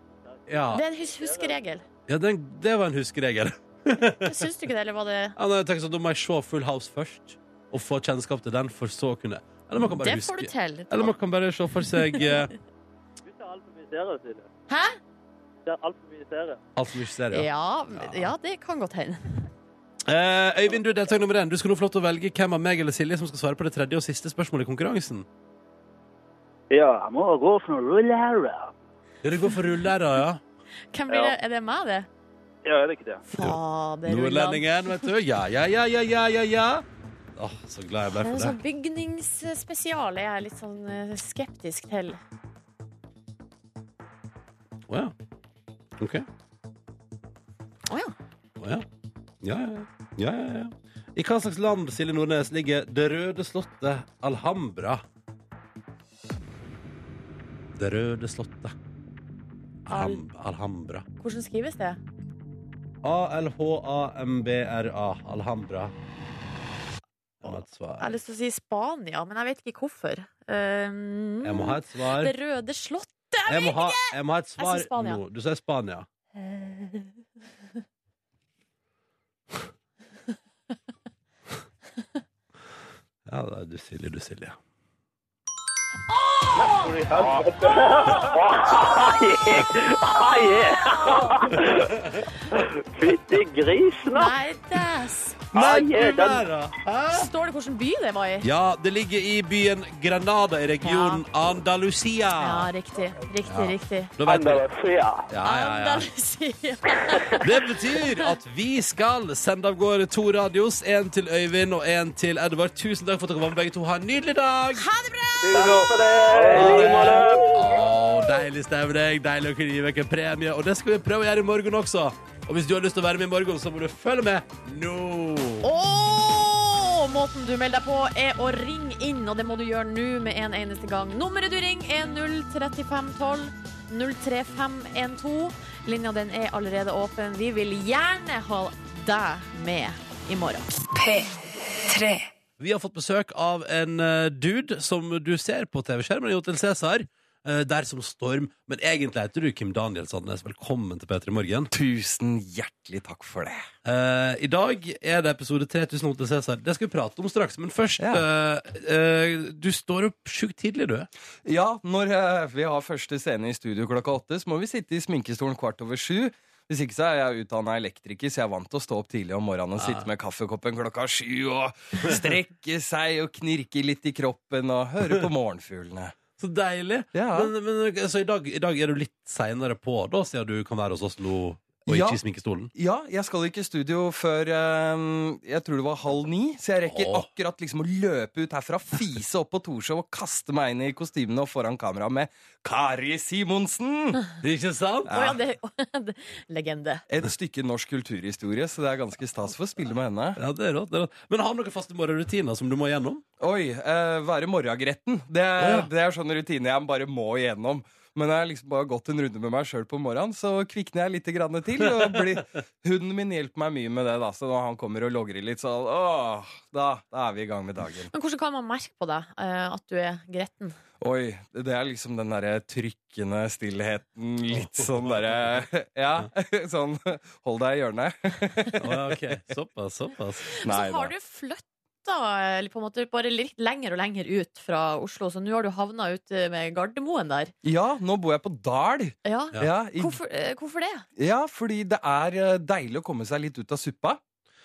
S2: Ja,
S5: Det er en hus huskeregel.
S2: ja den, det var en huskeregel.
S5: Syns du ikke det, eller var det
S2: Ja, nei, jeg tenker sånn, Da må jeg se Full House først, og få kjennskap til den, for så å kunne Eller man kan bare
S5: Det får du
S2: huske.
S5: til.
S2: Eller man kan bare se for seg eh,
S1: Du ser altfor mye serier, Silje.
S5: Hæ?
S1: Du ser altfor mye serier.
S2: alt som ikke ser, ja.
S5: Ja, ja, det kan godt hende.
S2: Eh, Øyvind, du er deltaker nummer én. Du skal nå få lov til å velge hvem av meg eller Silje som skal svare på det tredje og siste spørsmålet i konkurransen.
S1: Ja, jeg må gå for noe rullere.
S2: Ja, det går for rullæra, ja.
S5: Hvem blir det? Er det meg, det?
S1: Ja, er det ikke det?
S5: Fader, Ulland.
S2: Nordlendingen, vet du. Ja, ja, ja, ja, ja, ja. ja. Åh, så glad jeg ble
S5: Men
S2: for
S5: sånn
S2: det.
S5: bygningsspesial er jeg litt sånn eh, skeptisk til.
S2: Å ja. OK.
S5: Å ja.
S2: Å ja. Ja, ja, ja. ja, ja, ja. I hva slags land, Silje Nordnes, ligger det røde slottet Alhambra? Det røde slottet Alham Alhambra.
S5: Hvordan skrives det?
S2: A-L-H-A-M-B-R-A. Alhambra. Jeg må ha et
S5: Jeg har
S2: svar.
S5: lyst til å si Spania, men jeg vet ikke hvorfor. Um,
S2: Jeg må ha et svar.
S5: Det røde slott.
S2: Jeg må ha, jeg må ha et
S5: Jeg
S2: svar
S5: sier Spania.
S2: nå. Du sier Spania. Ja, det er du Silje, du Silje.
S1: Ah, yeah. Fytti grisen, da.
S5: Nei, dæs!
S1: Ah, yeah,
S2: du
S1: den-
S2: verre. Hæ?
S5: Står det hvilken by det var i?
S2: Ja, det ligger i byen Granada i regionen Andalusia.
S5: Ja, riktig. Riktig,
S2: Ja.
S5: riktig.
S2: Da vet vi.
S1: Andalusia.
S2: Ja, ja, ja.
S5: Andalusia.
S2: Det betyr at vi skal sende av gårde to radios. En til Øyvind og en til Edvard. Tusen takk for at dere var med, begge to. Ha en nydelig dag!
S1: Takk for det. I like måte.
S2: Åh, deilig stemning. Deilig å kunne gi vekk en premie. Og det skal vi prøve å gjøre i morgen også. Og hvis du har lyst til å være med i morgen, så må du følge med nå.
S5: Åh, måten du melder deg på er å ringe inn, og det må du gjøre nå med en eneste gang. Nummeret du ringer er 03512. 03512. Linja den er allerede åpen. Vi vil gjerne ha deg med i morgen.
S2: Vi har fått besøk av en eh, dude som du ser på TV-skjermen i Hotel Cæsar. eh, der som Storm. Men egentlig heter du Kim Daniel Sandnes. Velkommen til P3 Morgen.
S7: Tusen hjertelig takk for det.
S2: Eh, I dag er det episode 3000 Hotel Cæsar. Det skal vi prate om straks. Men først eh, eh, Du står opp sjukt tidlig, du.
S7: Ja, når eh, vi har første scene i studio klokka åtte, så må vi sitte i sminkestolen kvart over sju. Hvis ikke så er jeg utdanna elektriker, så jeg er vant til å stå opp tidlig om morgenen og sitte med kaffekoppen klokka sju og strekke seg og knirke litt i kroppen og høre på morgenfuglene.
S2: Så deilig.
S7: Ja.
S2: Men, men, så i dag, i dag er du litt seinere på, da, siden du kan være hos oss nå og
S7: Ja.
S2: ikke i sminkestolen?
S7: Ja, jeg skal ikke i studio før eh, jeg tror det var halv ni, så jeg rekker
S2: Åh.
S7: akkurat liksom å løpe ut herfra, fise opp på Torshov og kaste meg inn i kostymene og foran kamera med Kari Simonsen!
S2: Ikke sant?
S5: Å ja, det, legende.
S7: Et stykke norsk kulturhistorie, så det er ganske stas for å spille med henne.
S2: Ja, det er rått, det er rått. Men har du noen faste morgenrutiner som du må gjennom?
S7: Oi, eh, være morgengretten. Det,
S2: Ja, ja.
S7: det er sånn rutine jeg bare må igjennom. Men jeg har liksom bare gått en runde med meg sjøl på morgenen, så kvikner jeg litt grann til. Og blir, hunden min hjelper meg mye med det, da, så når han kommer og logrer litt, så åh, da, da er vi i gang med dagen.
S5: Men hvordan kan man merke på deg eh, at du er gretten?
S7: Oi, det er liksom den derre trykkende stillheten, litt sånn derre Ja, sånn hold deg i hjørnet.
S2: Å, ja, ok. Såpass, såpass.
S7: Nei
S5: så har
S7: da.
S5: du flytta eh, på en måte bare litt lenger og lenger ut fra Oslo, så nå har du havna ute med Gardermoen der.
S7: Ja, nå bor jeg på Dal.
S5: Ja.
S2: Ja.
S7: Ja, i
S5: Hvorfor, eh, hvorfor det?
S7: Ja, fordi det er eh, deilig å komme seg litt ut av suppa.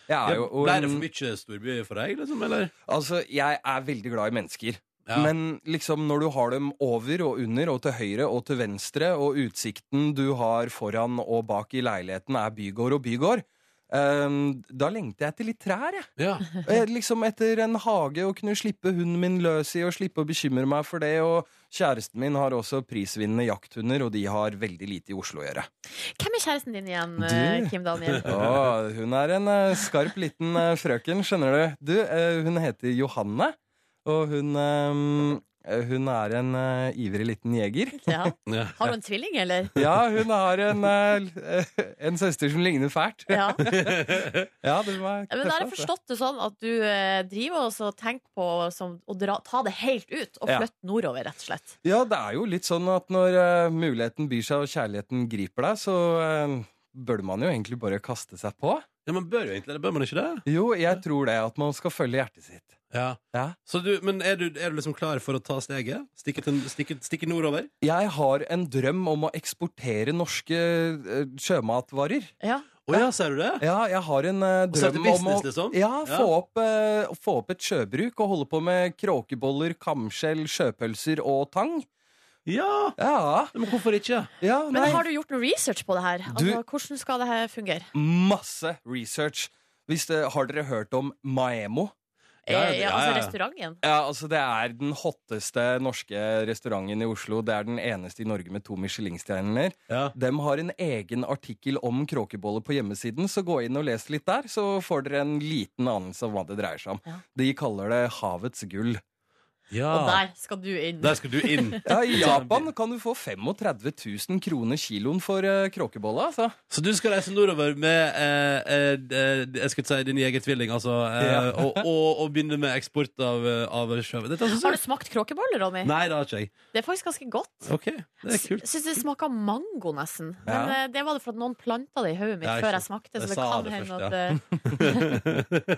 S7: Jeg
S2: Ja,
S7: er jo og
S2: Ble det for
S7: en,
S2: mye storby for deg, liksom? Eller?
S7: altså, jeg er veldig glad i mennesker.
S2: Ja.
S7: Men liksom når du har dem over og under og til høyre og til venstre, og utsikten du har foran og bak i leiligheten er bygård og bygård, ehm, da lengter jeg etter litt trær, jeg.
S2: ja.
S7: Eh, Liksom etter en hage å kunne slippe hunden min løs i og slippe å bekymre meg for det. Og kjæresten min har også prisvinnende jakthunder, og de har veldig lite i Oslo å gjøre.
S5: Hvem er kjæresten din igjen,
S7: Du.
S5: eh, Kim Daniel?
S7: Å, hun er en eh, skarp liten eh, frøken, skjønner du. Du, eh, hun heter Johanne, og hun eh, Eh, Hun er en eh, ivrig liten jeger.
S5: Ja.
S2: Ja.
S5: Har du en tvilling, eller?
S7: Ja, hun har en, eh, l- en søster som ligner fælt.
S5: Ja.
S7: Ja, det var
S5: Men da har jeg forstått det sånn at du eh, driver og så tenker på som, å dra, ta det helt ut og
S7: Ja.
S5: flytte nordover, rett og slett.
S7: altså. Ja, det er jo litt sånn at når eh, muligheten byr seg og kjærligheten griper deg, så eh, bør man jo egentlig bare kaste seg på.
S2: Ja, man bør jo egentlig det. Bør man ikke det?
S7: Jo, jeg tror det, at man skal følge hjertet sitt.
S2: Ja.
S7: Ja.
S2: Så du, men er du, er du liksom klar for å ta steget? Stikke, til, stikke, stikke nordover?
S7: Jeg har en drøm om å eksportere norske eh, sjømatvarer.
S5: Ja.
S2: Å ja, ser du det?
S7: Ja, jeg har en eh,
S2: sette
S7: drøm om å
S2: business, liksom?
S7: Ja,
S2: Ja.
S7: få, Opp, eh, få opp et sjøbruk og holde på med kråkeboller, kamskjell, sjøpølser og tang.
S2: Ja!
S7: Ja,
S2: Men hvorfor ikke?
S7: ja,
S5: Men
S7: nei.
S5: har du gjort noe research på det her?
S7: Du-
S5: Altså, hvordan skal det her fungere?
S7: Masse research. Hvis det, har dere hørt om Maemo?
S2: Ja,
S5: Eh,
S2: ja,
S5: ja, altså
S2: ja.
S5: restauranten?
S7: Ja, altså Det er den hotteste norske restauranten i Oslo. Det er den eneste i Norge med to Michelin-stjerner.
S2: Ja.
S7: De har en egen artikkel om kråkeboller på hjemmesiden, så gå inn og les litt der, så får dere en liten anelse om hva det dreier seg om.
S5: Ja.
S7: De kaller det havets gull.
S2: ja.
S5: Og der skal du inn.
S2: Der skal du inn.
S7: Ja, I Japan kan du få 35 000 kroner kiloen for uh, kråkebolla, altså.
S2: Så du skal reise nordover med eh, eh, eh, jeg skulle si din jegertvilling, altså, eh,
S7: Ja.
S2: og, og, og begynne med eksport av, eh, av sjø. Dette synes
S5: Har du
S2: jeg
S5: smakt kråkeboller, Ronny?
S2: Nei, det har ikke jeg.
S5: Det er faktisk ganske godt.
S2: OK, det er kult.
S5: Syns det smaker mango, nesten.
S7: Ja.
S5: Men eh, det var det for at noen planta det i hodet mitt
S2: Ja, ikke
S5: før jeg
S2: sant.
S5: smakte.
S2: Jeg
S5: Så det
S2: sa
S5: kan
S2: det
S5: hende
S2: først,
S5: at eh,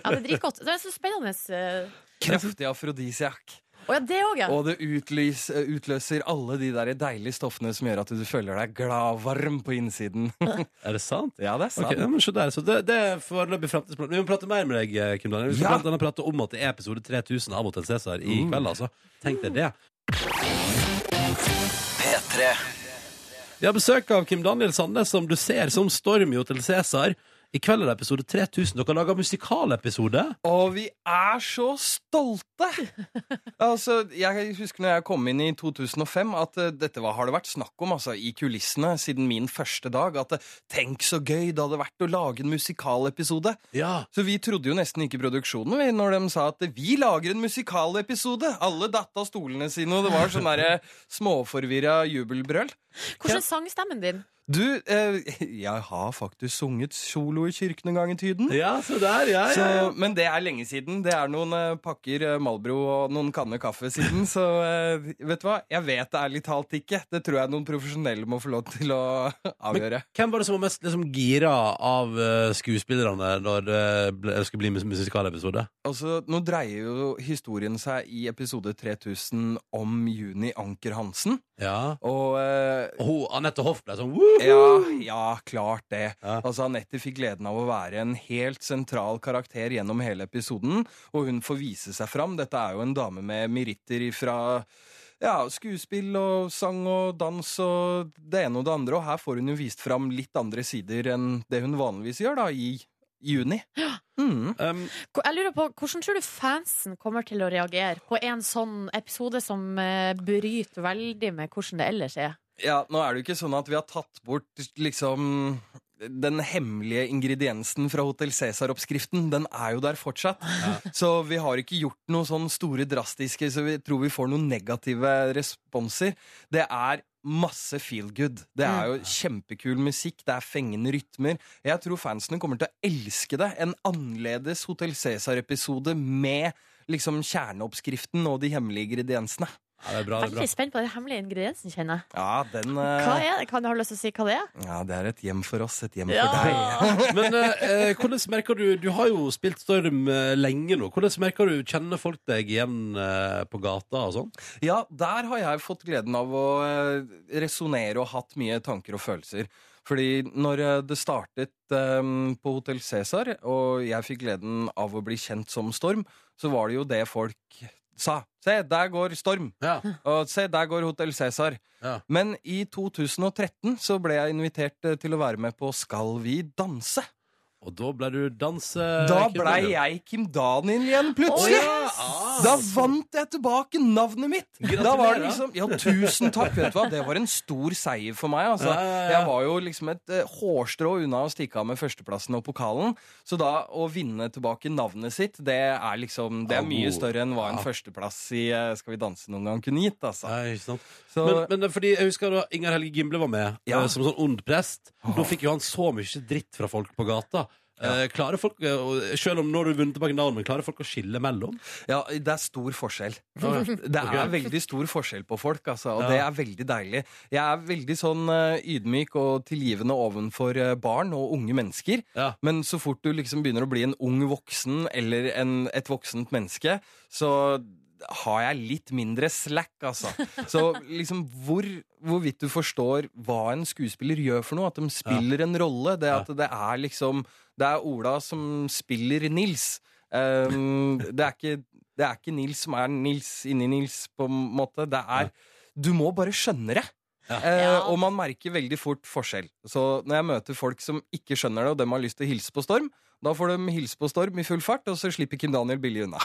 S5: Ja, det er dritgodt. Det er så spennende. eh.
S7: Kraftig afrodisiak.
S5: Å ja, det òg, ja.
S7: Og det utlys, eh, utløser alle de der deilige stoffene som gjør at du føler deg glad varm på innsiden.
S2: Er det sant?
S7: Ja, det er sant.
S2: Ok, ja, men se der, så det, det er foreløpig fremtidsplan. Vi må prate mer med deg, eh, Kim Daniel. Vi skal
S7: Ja.
S2: blant annet prate om at det er episode 3000 av Hotel Cæsar i kveld, altså. Tenk deg det. Vi har besøk av Kim Daniel Sandnes, som du ser som Storm i Hotel Cæsar. I kveld er det episode 3000. Dere har laga musikalepisode.
S7: Og vi er så stolte! Altså, Jeg husker når jeg kom inn i 2005, at eh, dette var, har det vært snakk om altså, i kulissene siden min første dag. At eh, tenk så gøy det hadde vært å lage en musikalepisode!
S2: Ja.
S7: Så vi trodde jo nesten ikke produksjonen vi, når de sa at vi lager en musikalepisode! Alle datt av stolene sine, og det var sånn derre småforvirra jubelbrøl.
S5: Hvordan er sangstemmen din?
S7: Du, eh, jeg har faktisk sunget solo i kirken en gang i tiden.
S2: Ja, se der. Ja,
S7: Så,
S2: ja, ja.
S7: men det er lenge siden. Det er noen eh, pakker eh, Malbro og noen kanner kaffe siden. Så eh, vet du hva? Jeg vet det ærlig talt ikke. Det tror jeg noen profesjonelle må få lov til å avgjøre.
S2: Hvem var det som var mest liksom, gira av eh, skuespillerne når det ble, skulle bli mus- musikalepisode?
S7: Altså, nå dreier jo historien seg i episode 3000 om Juni Anker Hansen.
S2: Ja.
S7: Og eh,
S2: Og hun, Anette Hoff ble sånn woo!
S7: ja, ja, klart det.
S2: Ja.
S7: Altså, Anette fikk gleden av å være en helt sentral karakter gjennom hele episoden, og hun får vise seg fram. Dette er jo en dame med meritter fra ja, skuespill og sang og dans og det ene og det andre, og her får hun jo vist fram litt andre sider enn det hun vanligvis gjør da, i juni. Mm.
S2: Um,
S5: Ko- Jeg lurer på, Hvordan tror du fansen kommer til å reagere på en sånn episode som eh, bryter veldig med hvordan det ellers er?
S7: Ja, nå er det jo ikke sånn at vi har tatt bort liksom den hemmelige ingrediensen fra Hotell Cæsar-oppskriften. Den er jo der fortsatt. Så vi har ikke gjort noe sånn store drastiske, så vi tror vi får noen negative responser. Det er masse feel good. Det er jo kjempekul musikk, det er fengende rytmer. Jeg tror fansene kommer til å elske det. En annerledes Hotell Cæsar-episode med liksom kjerneoppskriften og de hemmelige ingrediensene.
S2: ja, det er bra, det er bra.
S5: Veldig spent på den hemmelige ingrediensen, kjenner jeg.
S7: Ja, den eh,
S5: Hva er det? Kan du ha lyst til å si hva det er?
S7: Ja, det er et hjem for oss, et hjem for deg.
S5: Ja!
S2: Men eh, eh, hvordan merker du Du har jo spilt Storm eh, lenge nå. Hvordan merker du Kjenner folk deg igjen eh, på gata og sånn?
S7: Ja, der har jeg fått gleden av å resonnere og hatt mye tanker og følelser. Fordi når eh, det startet eh, på Hotell Cæsar, og jeg fikk gleden av å bli kjent som Storm, så var det jo det folk sa. Se, der går Storm!
S2: Ja.
S7: Og se, der går Hotell Cæsar.
S2: Ja.
S7: Men i 2013 så ble jeg invitert eh, til å være med på Skal vi danse?
S2: Og da ble du eh, danse...
S7: Da blei jeg Kim Daniel igjen, plutselig! Da vant jeg tilbake navnet mitt! Da var det liksom, ja, Tusen takk! vet du hva, Det var en stor seier for meg. altså.
S2: Ja, ja, ja.
S7: Jeg var jo liksom et eh, hårstrå unna å stikke av med førsteplassen og pokalen. Så da å vinne tilbake navnet sitt, det er liksom, det er mye større enn hva en førsteplass i eh, Skal vi danse noen gang kunne gitt. altså.
S2: Nei, ikke sant?
S7: Så,
S2: Men, men det er fordi jeg husker da Ingar Helge Gimle var med
S7: Ja.
S2: eh, som sånn ond prest. Da fikk jo han så mye dritt fra folk på gata. Eh, klarer folk, eh, og selv om nå har du vunnet tilbake navnet, men klarer folk å skille mellom?
S7: ja, det er stor forskjell.
S2: Ja.
S7: Det er
S2: Ok.
S7: veldig stor forskjell på folk, altså, og
S2: Ja.
S7: det er veldig deilig. Jeg er veldig sånn eh, ydmyk og tilgivende ovenfor eh, barn og unge mennesker.
S2: Ja.
S7: Men så fort du liksom begynner å bli en ung voksen eller en, et voksent menneske, så har jeg litt mindre slack, altså. Så liksom hvor, hvorvidt du forstår hva en skuespiller gjør for noe, at de spiller en rolle, det at det er liksom Det er Ola som spiller Nils. Um, det, er ikke, det er ikke Nils som er Nils inni Nils, på en måte. Det er Du må bare skjønne det!
S2: Ja.
S7: Eh,
S5: Ja.
S7: og man merker veldig fort forskjell. Så når jeg møter folk som ikke skjønner det, og dem har lyst til å hilse på Storm, da får de hilse på Storm i full fart, og så slipper Kim Daniel billig unna.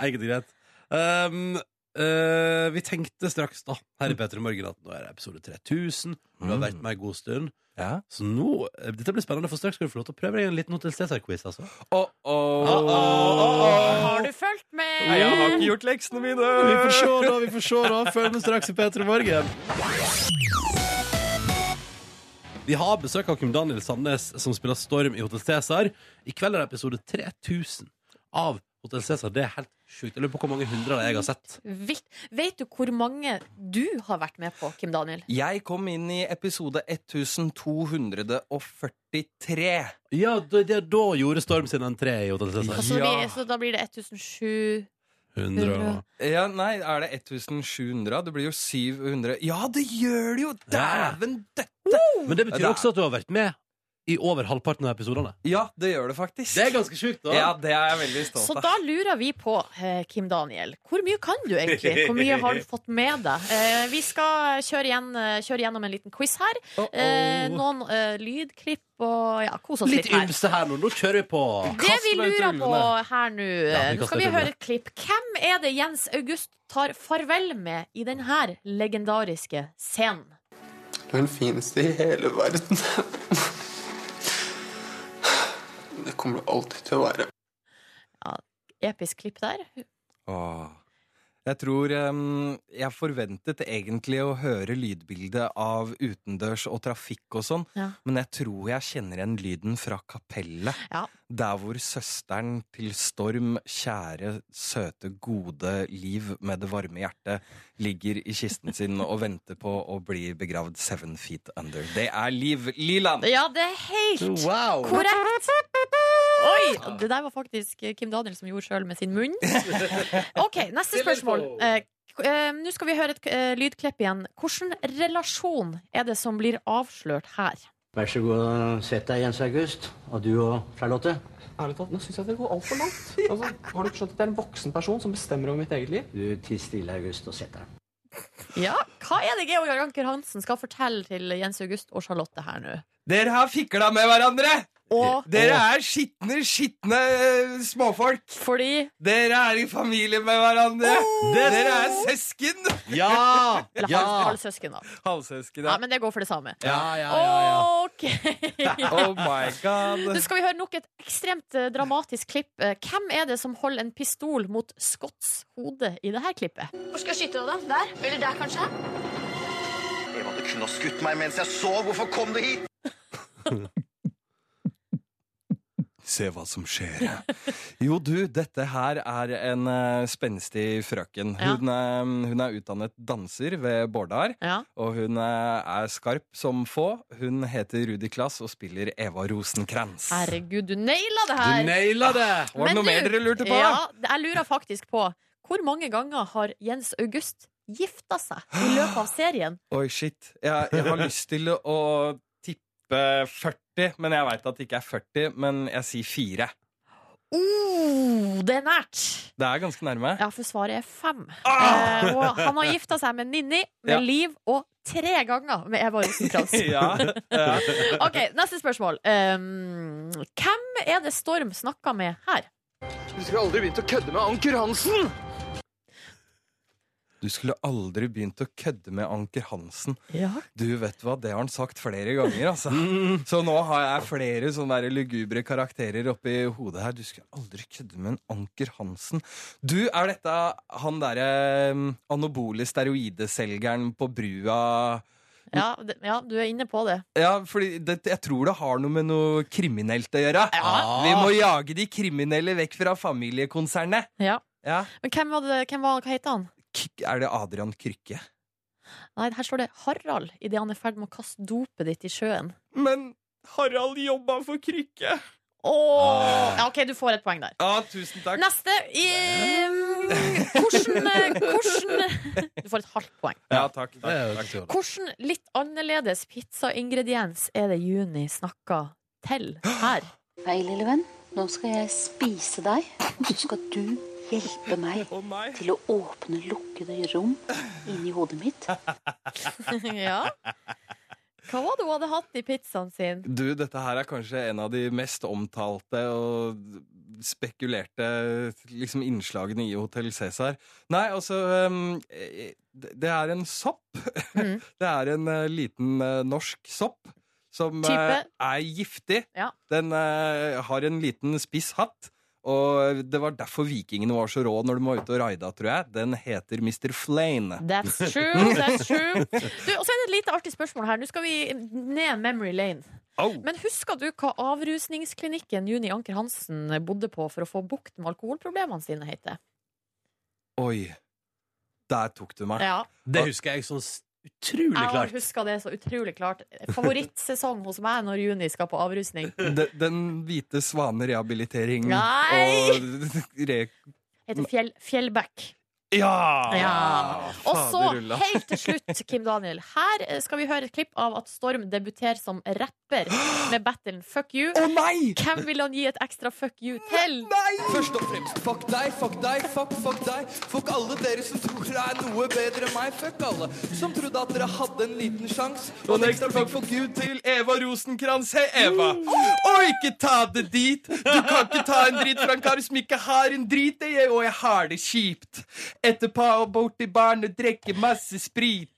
S2: Egentlig greit. Um, eh, vi tenkte straks da her
S7: Mm.
S2: i Petter i Morgen at nå er det episode 3000. Du har vært med en god stund.
S7: Ja.
S2: Så nå, eh, Dette blir spennende, for straks skal du få lov til å prøve deg i en liten Hotell Cæsar-quiz. Altså.
S7: Oh, oh. ah,
S5: Har du fulgt med?
S7: Nei, jeg har ikke gjort leksene mine!
S2: Vi får se, da. vi får se da Følg med straks i P3 Morgen. Vi har besøk av Kim Daniel Sandnes, som spiller Storm i Hotell Cæsar. I kveld er det episode 3000 av Hotell Cæsar. Det er helt sjukt. Jeg lurer på hvor mange hundre jeg har sett.
S5: Vilt. Vet du hvor mange du har vært med på, Kim Daniel?
S7: Jeg kom inn i episode 1243.
S2: Ja, Da, det, da gjorde Storm sin entré i Hotell Cæsar.
S5: Altså,
S7: Ja.
S5: vi, så da blir det 1007
S2: 100 og...
S7: Ja, nei, er det 1700? Det blir jo 700 Ja, det gjør det jo!
S2: Ja.
S7: Dæven døtte!
S2: Men det betyr
S7: Det er-
S2: også at du har vært med i over halvparten av episodene.
S7: Ja, det gjør det faktisk.
S2: ganske sjukt,
S7: ja, det er jeg veldig stolt
S5: Så
S7: av.
S5: da lurer vi på, eh, Kim Daniel, hvor mye kan du egentlig? Hvor mye har du fått med deg? Eh, vi skal kjøre, igjen, eh, kjøre gjennom en liten quiz her. Eh, noen eh, lydklipp og ja, kos oss litt,
S2: Litt
S5: her.
S2: ymse her nå. Nå kjører vi på.
S5: Det vi
S7: Kast meg ut
S5: lurer
S7: i
S5: på
S7: ulvene.
S5: her nå,
S2: Ja, vi
S5: nå
S2: kaster
S5: skal vi
S2: ut
S5: høre
S2: ulvene.
S5: et klipp. Hvem er det Jens August tar farvel med i denne legendariske scenen?
S8: Du er den fineste i hele verden. Det kommer du alltid til å være.
S5: Episk klipp der.
S7: Åh. Jeg tror em, Jeg forventet egentlig å høre lydbildet av utendørs og trafikk og sånn,
S5: Ja.
S7: men jeg tror jeg kjenner igjen lyden fra kapellet.
S5: Ja.
S7: Der hvor søsteren til Storm, kjære, søte, gode Liv med det varme hjertet, ligger i kisten sin og venter på å bli begravd seven feet under. Det er Liv Liland!
S5: Ja, det er helt
S2: Wow.
S5: korrekt! Oi! Det der var faktisk Kim Daniel som gjorde sjøl med sin munn. OK, neste spørsmål. Eh, k- eh, Nå skal vi høre et eh, lydklipp igjen. Hvilken relasjon er det som blir avslørt her?
S9: Vær så god og sett deg, Jens August. Og du og Charlotte.
S10: Ærlig talt, nå syns jeg det går altfor langt. Altså, har du ikke skjønt at jeg er en voksen person som bestemmer over mitt eget liv?
S9: Du tiss stille, August, og sett deg.
S5: Ja, Hva er det Georg Anker Hansen skal fortelle til Jens August og Charlotte her nå?
S7: Dere har fikla med hverandre!
S5: Og
S7: Dere er skitne, skitne eh, småfolk!
S5: fordi
S7: Dere er i familie med hverandre!
S5: Oh!
S7: Dere er søsken!
S2: Ja!
S5: Eller
S2: Ja.
S5: hal- halvsøsken, da.
S7: Halvsøsken,
S5: Ja, men det går for det samme.
S2: Ja, ja,
S5: OK!
S7: Oh my
S5: Nå
S7: god.
S5: skal vi høre nok et ekstremt eh, dramatisk klipp. Eh, Hvem er det som holder en pistol mot Scotts hode i dette klippet?
S11: Hvor skal jeg skyte deg, da? Der? Eller der, kanskje?
S8: Eva, du kunne ha skutt meg mens jeg sov. Hvorfor kom du hit?
S7: Se hva som skjer. Jo, du, dette her er en eh, spenstig frøken.
S5: Ja.
S7: Hun, eh, hun er utdannet danser ved Bårdar,
S5: Ja.
S7: og hun eh, er skarp som få. Hun heter Rudi Klass og spiller Eva Rosenkrantz.
S5: Herregud, du naila det
S2: Du
S5: her!
S2: naila det!
S7: Var det
S5: Men
S7: noe mer
S5: du-
S7: dere lurte på?
S5: Ja, jeg lurer faktisk på hvor mange ganger har Jens August gifta seg i løpet av serien?
S7: Oi, shit. Jeg, jeg har lyst til å tippe 40, men jeg veit at det ikke er 40, men jeg sier 4.
S5: Oh, det er nært!
S7: Det er ganske nærme.
S5: Ja, for svaret er fem. Eh, og han har gifta seg med Ninni, med
S7: Ja.
S5: Liv og tre ganger med Eva Rosenkrantz.
S7: Ja, ja.
S5: OK, neste spørsmål. Um, hvem er det Storm snakka med her?
S8: Du skulle aldri begynt å kødde med Anker Hansen!
S7: Du skulle aldri begynt å kødde med Anker Hansen.
S5: Ja.
S7: Du vet hva, det har han sagt flere ganger, altså. Så nå har jeg flere sånne der lugubre karakterer oppi hodet her. Du skulle aldri kødde med en Anker Hansen. Du, er dette han derre mm, anabole steroideselgeren på brua
S5: Ja, det, ja, du er inne på det.
S7: ja, fordi det, jeg tror det har noe med noe kriminelt å gjøre. Vi må jage de kriminelle vekk fra familiekonsernet.
S5: Ja.
S7: Ja.
S5: Men hvem var det, hvem var, hva heter han?
S7: K- Er det Adrian Krykke?
S5: Nei, her står det Harald idet han er i ferd med å kaste dopet ditt i sjøen.
S7: Men Harald jobba for Krykke!
S5: Åh. Ja, OK, du får et poeng der.
S7: Ja, tusen takk.
S5: Neste um, hvordan, hvordan Du får et halvt poeng.
S7: Ja, takk.
S2: Det er jo ikke så
S7: takk, takk.
S2: dårlig.
S5: Hvordan litt annerledes pizzaingrediens er det Juni snakka til her?
S12: Hei, lille venn. Nå skal jeg spise deg, og så skal du hjelpe meg til å åpne lukkede rom inni hodet mitt.
S5: ja. Hva var det hun hadde hatt i pizzaen sin?
S7: Du, dette her er kanskje en av de mest omtalte og spekulerte liksom, innslagene i Hotell Cæsar. Nei, altså um, eh, Det det er en sopp.
S5: Mm.
S7: Det er en eh, liten eh, norsk sopp som
S5: Type?
S7: eh, er giftig.
S5: Ja.
S7: Den eh, har en liten spiss hatt. Og det var derfor vikingene var så rå når de var ute og raida, tror jeg. Den heter Mr. Flane.
S5: That's true. that's true Du, Og så er det et lite artig spørsmål her. Nå skal vi ned memory lane.
S7: Au.
S5: Men husker du hva avrusningsklinikken Juni Anker Hansen bodde på for å få bukt med alkoholproblemene sine, heter?
S7: Oi. Der tok du meg.
S5: Ja,
S2: Det husker jeg sånn s- utrolig
S5: jeg
S2: klart.
S5: husker det så utrolig klart. Favorittsesong hos meg når Juni skal på avrusning.
S7: Den, den hvite svanerehabilitering
S5: Nei!
S7: og re...
S5: Heter Fjell, Fjellback.
S7: Ja!
S5: Ja. Og så,
S7: Faderulla.
S5: helt til slutt, Kim Daniel, her eh, skal vi høre et klipp av at Storm debuterer som rapper med battlen Fuck You.
S7: Å nei!
S5: Hvem vil han gi et ekstra fuck you til?
S13: Først og fremst fuck deg, fuck deg, fuck, fuck deg. Fuck alle dere som tror dere er noe bedre enn meg. Fuck alle som trodde at dere hadde en liten sjanse.
S7: Og en ekstra takk for Gud til Eva Rosenkrantz. Hei, Eva! Og ikke ta det dit! Du kan ikke ta en drit fra en kar som ikke har en drit, det gjør- og jeg har det kjipt. Etterpå og bort til baren og drikke masse sprit.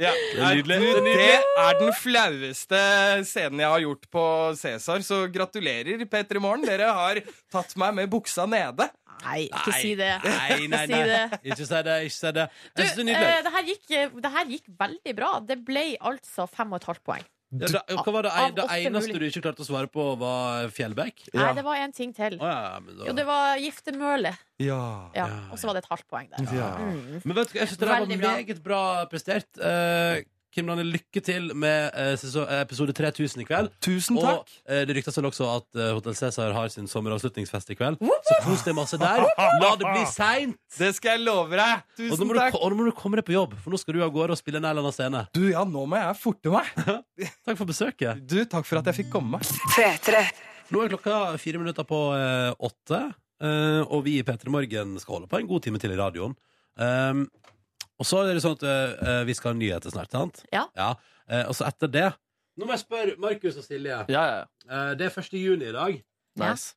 S7: Ja,
S2: Det er nydelig.
S7: du,
S2: Det er nydelig.
S7: Det er den flaueste scenen jeg har gjort på Cæsar, så gratulerer, Petter i morgen. Dere har tatt meg med buksa nede.
S5: Nei, ikke si det.
S2: Nei, nei,
S5: Ikke si
S2: nei.
S5: det.
S2: Ikke si det. Ikke si det.
S5: Du,
S2: Jeg synes det er
S5: eh,
S2: nydelig.
S5: det, her gikk, eh, det her gikk veldig bra. Det ble altså fem og et halvt poeng.
S2: Ja, da, hva var det, ei-
S5: av
S2: det
S5: åtte
S2: eneste
S5: mulig-
S2: du ikke klarte å svare på, var Fjellbekk?
S5: Nei, det var en ting til.
S2: Å, ja, men da-
S5: Jo, det var giftemøle.
S7: Ja.
S5: Ja, og så var det et halvt poeng der.
S2: Ja.
S5: Mm.
S2: Men vet du, hva, jeg synes det der var
S5: Veldig bra.
S2: meget bra prestert. Eh, Kim Daniel, lykke til med eh, seso- episode 3000 i kveld.
S5: Mm,
S7: Tusen
S2: Og
S7: takk.
S2: eh, det ryktes vel også at eh, Hotel Cæsar har sin sommeravslutningsfest i kveld. Så kos deg masse der. La det bli seint.
S7: Det skal jeg love deg.
S2: Og nå
S7: Tusen
S2: må, du,
S7: takk.
S2: ko- og nå må du komme deg på jobb, for nå skal du av gårde og spille en eller annen scene.
S7: Du, ja, nå må jeg forte meg.
S2: Takk for besøket.
S7: Du, takk for at jeg fikk komme.
S2: Nå er klokka fire minutter på eh, åtte, eh, og vi i P3 Morgen skal holde på en god time til i radioen. Um, og så er det sånn at eh, vi skal ha nyheter snart, sant?
S5: Ja.
S2: Eh, og så etter det Nå må jeg spørre Markus og Silje. Eh, det er 1. juni i dag,
S3: Nice.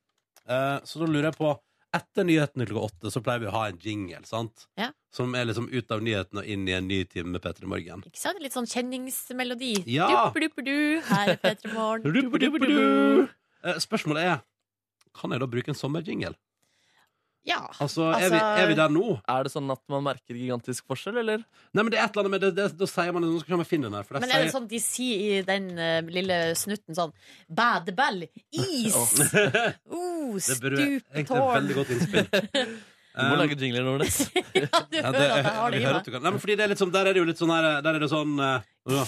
S2: eh, så da lurer jeg på Etter nyhetene klokka åtte så pleier vi å ha en jingle, sant?
S5: Ja.
S2: Som er liksom ut av nyhetene og inn i en ny time med P3 Morgen.
S5: Ikke sant? Litt sånn kjenningsmelodi.
S2: Ja.
S5: Duppeduppedu, her er Petter Morgen.
S2: Ruppeduppedu. Eh, Spørsmålet er Kan jeg da bruke en sommerjingle?
S5: Ja.
S2: Altså, er, vi,
S5: Altså-
S2: er vi der nå?
S3: Er det sånn at man merker gigantisk forskjell, eller?
S2: Nei, men det er et eller annet med det, det Da sier man det, nå skal jeg finne den her for det
S5: Men er det
S2: sier-
S5: sånn de sier i den eh, lille snutten sånn Badeball, is, oh,
S2: Det burde egentlig et
S5: stuptårn
S2: veldig godt innspill Eh,
S3: Du
S7: Um,
S3: må lage jingler, Nordnes.
S5: Ja, du
S2: Ja,
S5: hører at jeg har
S2: vi
S5: det i
S2: hører at
S5: meg.
S2: du kan- Nei, men fordi det er litt sånn Der er det jo litt sånn her Der er det sånn eh, ja.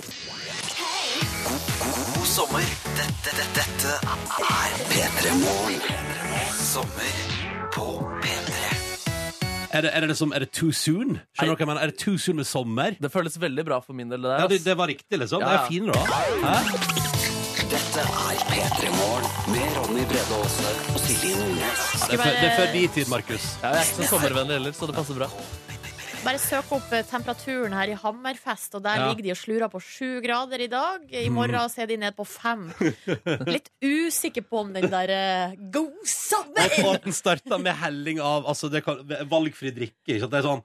S8: God sommer. Dette, dette, dette er P3 Morgen. Sommer på P3.
S2: er, det, er det liksom Er det too soon? Skjønner dere hva jeg mener? Er det too soon med sommer?
S3: Det føles veldig bra for min del. Det
S2: Ja,
S3: der,
S2: det,
S3: ass.
S2: det var riktig liksom
S3: Ja,
S2: Det
S3: ja.
S2: er fin da Hæ?
S8: Dette er P3 Morgen med Ronny Brede Aase og Silje Nordnes.
S2: Det er for- det er før din tid, Markus
S3: Ja, jeg er ikke så sommervennlig heller, så det passer bra.
S5: Bare søk opp eh, temperaturen her i Hammerfest, og der
S2: Ja.
S5: ligger de og slurer på sju grader i dag. I
S2: Mm.
S5: morgen så er de ned på fem. Litt usikker på om den der eh, Go summer!
S2: Og og at den starta med helling av altså det kan, valgfri drikke. Ikke sant? Det er sånn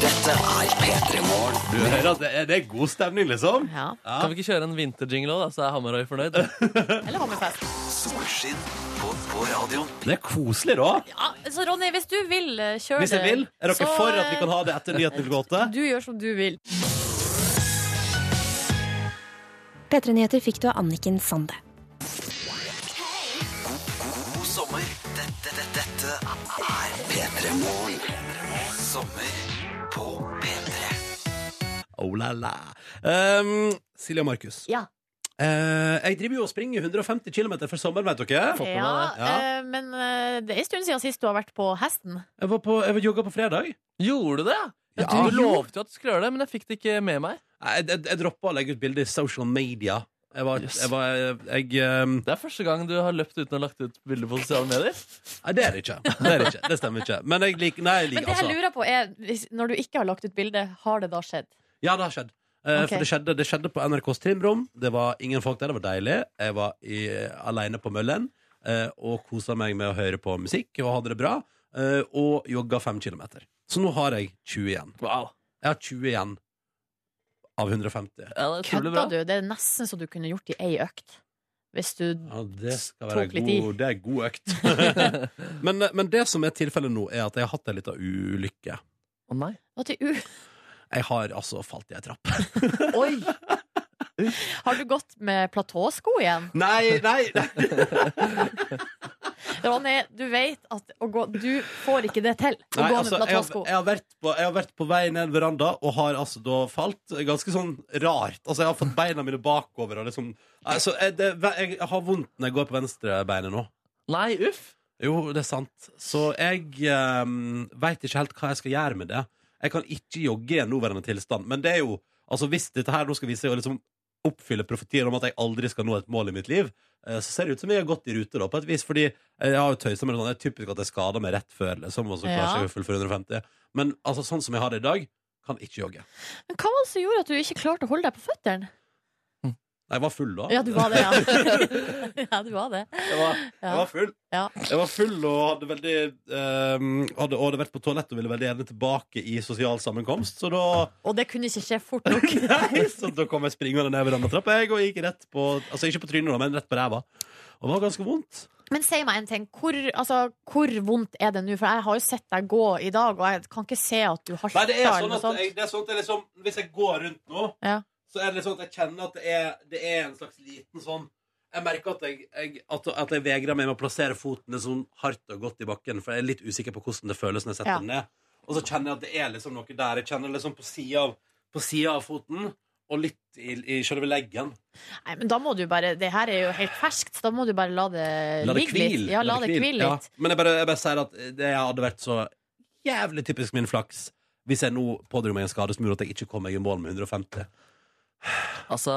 S8: Dette er P3 Morgen.
S2: du hører at det er, det er god stemning, liksom.
S3: Kan vi ikke kjøre en vinterjingle òg, da, så er Hamarøy fornøyd?
S5: Eller Hammerfest.
S8: Solskinn på, på radioen.
S2: Det er koselig, da.
S5: Ja, så Ronny, hvis du vil eh, kjøre
S2: Hvis jeg vil. Er dere
S5: så, eh,
S2: for at vi kan ha det etter nyheten klokka åtte?
S5: Du gjør som du vil.
S14: P3 Nyheter fikk du av Anniken Sande.
S8: God sommer. Dette, dette, dette er P3 Morgen. Sommer på P3.
S2: Oh la la. Um, Silje og Markus.
S5: Ja.
S2: Eh, jeg driver jo og springer 150 km for sommeren, vet dere.
S5: Ja, eh, men eh, det er en stund siden sist du har vært på hesten.
S2: Jeg var på Jeg var jogga på fredag.
S3: Gjorde du det? Ja. Du lovte jo at du skulle gjøre det, men jeg fikk det ikke med meg.
S2: Nei, Jeg, jeg, jeg droppa å legge ut bilder i social media. Jeg var, jeg var jeg, ehm,
S3: Det er første gang du har løpt uten å ha lagt ut bilder på sosiale medier.
S2: Nei, det er det ikke. Det, er det, ikke. det stemmer ikke. Men jeg liker Nei, jeg
S5: Men
S2: liker
S5: det jeg
S2: altså.
S5: lurer på er, hvis, når du ikke har lagt ut bilde, har det da skjedd?
S2: Ja, det har skjedd. Eh,
S5: Ok.
S2: For det skjedde, det skjedde på NRKs trimrom. Det var ingen folk der, det var deilig. Jeg var i, alene på møllen eh, og kosa meg med å høre på musikk og hadde det bra. eh, og jogga fem kilometer. Så nå har jeg 20 igjen. Jeg har 20 igjen av 150.
S5: Kødda du? Det er nesten så du kunne gjort i ei økt. Hvis du
S2: Ja, det skal være
S5: tok litt i.
S2: god, det er god økt. men, eh, men det som er tilfellet nå, er at jeg har hatt ei lita ulykke.
S3: Å nei.
S5: Hva til u-
S2: Jeg har altså falt i ei trapp.
S5: Har du gått med platåsko igjen?
S2: Nei, nei,
S5: Ronny, du vet at å gå, du får ikke det til. Å
S2: Nei,
S5: gå
S2: altså,
S5: med
S2: jeg, har,
S5: platåsko.
S2: jeg, har vært på, jeg har vært på vei ned veranda og har altså da falt ganske sånn rart. Altså, jeg har fått beina mine bakover og liksom altså, jeg, det, jeg har vondt når jeg går på venstrebeinet nå.
S3: Nei, uff.
S2: Jo, det er sant. Så jeg um, veit ikke helt hva jeg skal gjøre med det. Jeg kan ikke jogge i en nåværende tilstand, men det er jo Altså, hvis dette her nå skal vise seg å liksom oppfylle profetien om at jeg aldri skal nå et mål i mitt liv, eh, så ser det ut som vi har gått i rute, da, på et vis. Fordi jeg har jo tøysa med det sånn. Det er typisk at jeg skader meg rett før, liksom, og så klarer
S5: Ja.
S2: jeg ikke å fullføre 150. Men altså, sånn som jeg har det i dag, kan ikke jogge.
S5: Men hva var det som gjorde at du ikke klarte å holde deg på føttene?
S2: Jeg var full da.
S5: Ja, du var det, ja. ja, du var det.
S2: Jeg var,
S5: Ja.
S2: jeg var full.
S5: Ja.
S2: Jeg var full og hadde veldig ehm, hadde, og hadde vært på toalettet og ville veldig gjerne tilbake i sosial sammenkomst. Så da,
S5: Og det kunne ikke skje fort nok.
S2: så da kom jeg springende ned verandatrappa jeg, og gikk rett på Altså ikke på trynet, da, men rett på ræva. Og det var ganske vondt.
S5: Men si meg en ting. Hvor, altså, hvor vondt er det nå? For jeg har jo sett deg gå i dag, og jeg kan ikke se at du har
S2: Nei, det er
S5: eller
S2: sånn
S5: noe
S2: at
S5: sånt.
S2: jeg, det er sånn at jeg liksom, Hvis jeg går rundt nå,
S5: Ja.
S2: så er det sånn at jeg kjenner at det er, det er en slags liten sånn Jeg merker at jeg, jeg, at, at jeg vegrer meg med å plassere foten sånn hardt og godt i bakken, for jeg er litt usikker på hvordan det føles når jeg setter
S5: Ja.
S2: den ned. Og så kjenner jeg at det er liksom noe der. Jeg kjenner liksom på sida av, på siden av foten. Og litt i, i selve leggen.
S5: Nei, men da må du bare Det her er jo helt ferskt, så da må du bare la det,
S2: La det
S5: ligge
S2: hvile.
S5: Eh, litt. Ja, la det hvile
S2: Ja.
S5: litt.
S2: Men jeg bare, jeg bare sier at det hadde vært så jævlig typisk min flaks hvis jeg nå pådro meg en skade som gjorde at jeg ikke kom meg i mål med 150.
S3: Altså,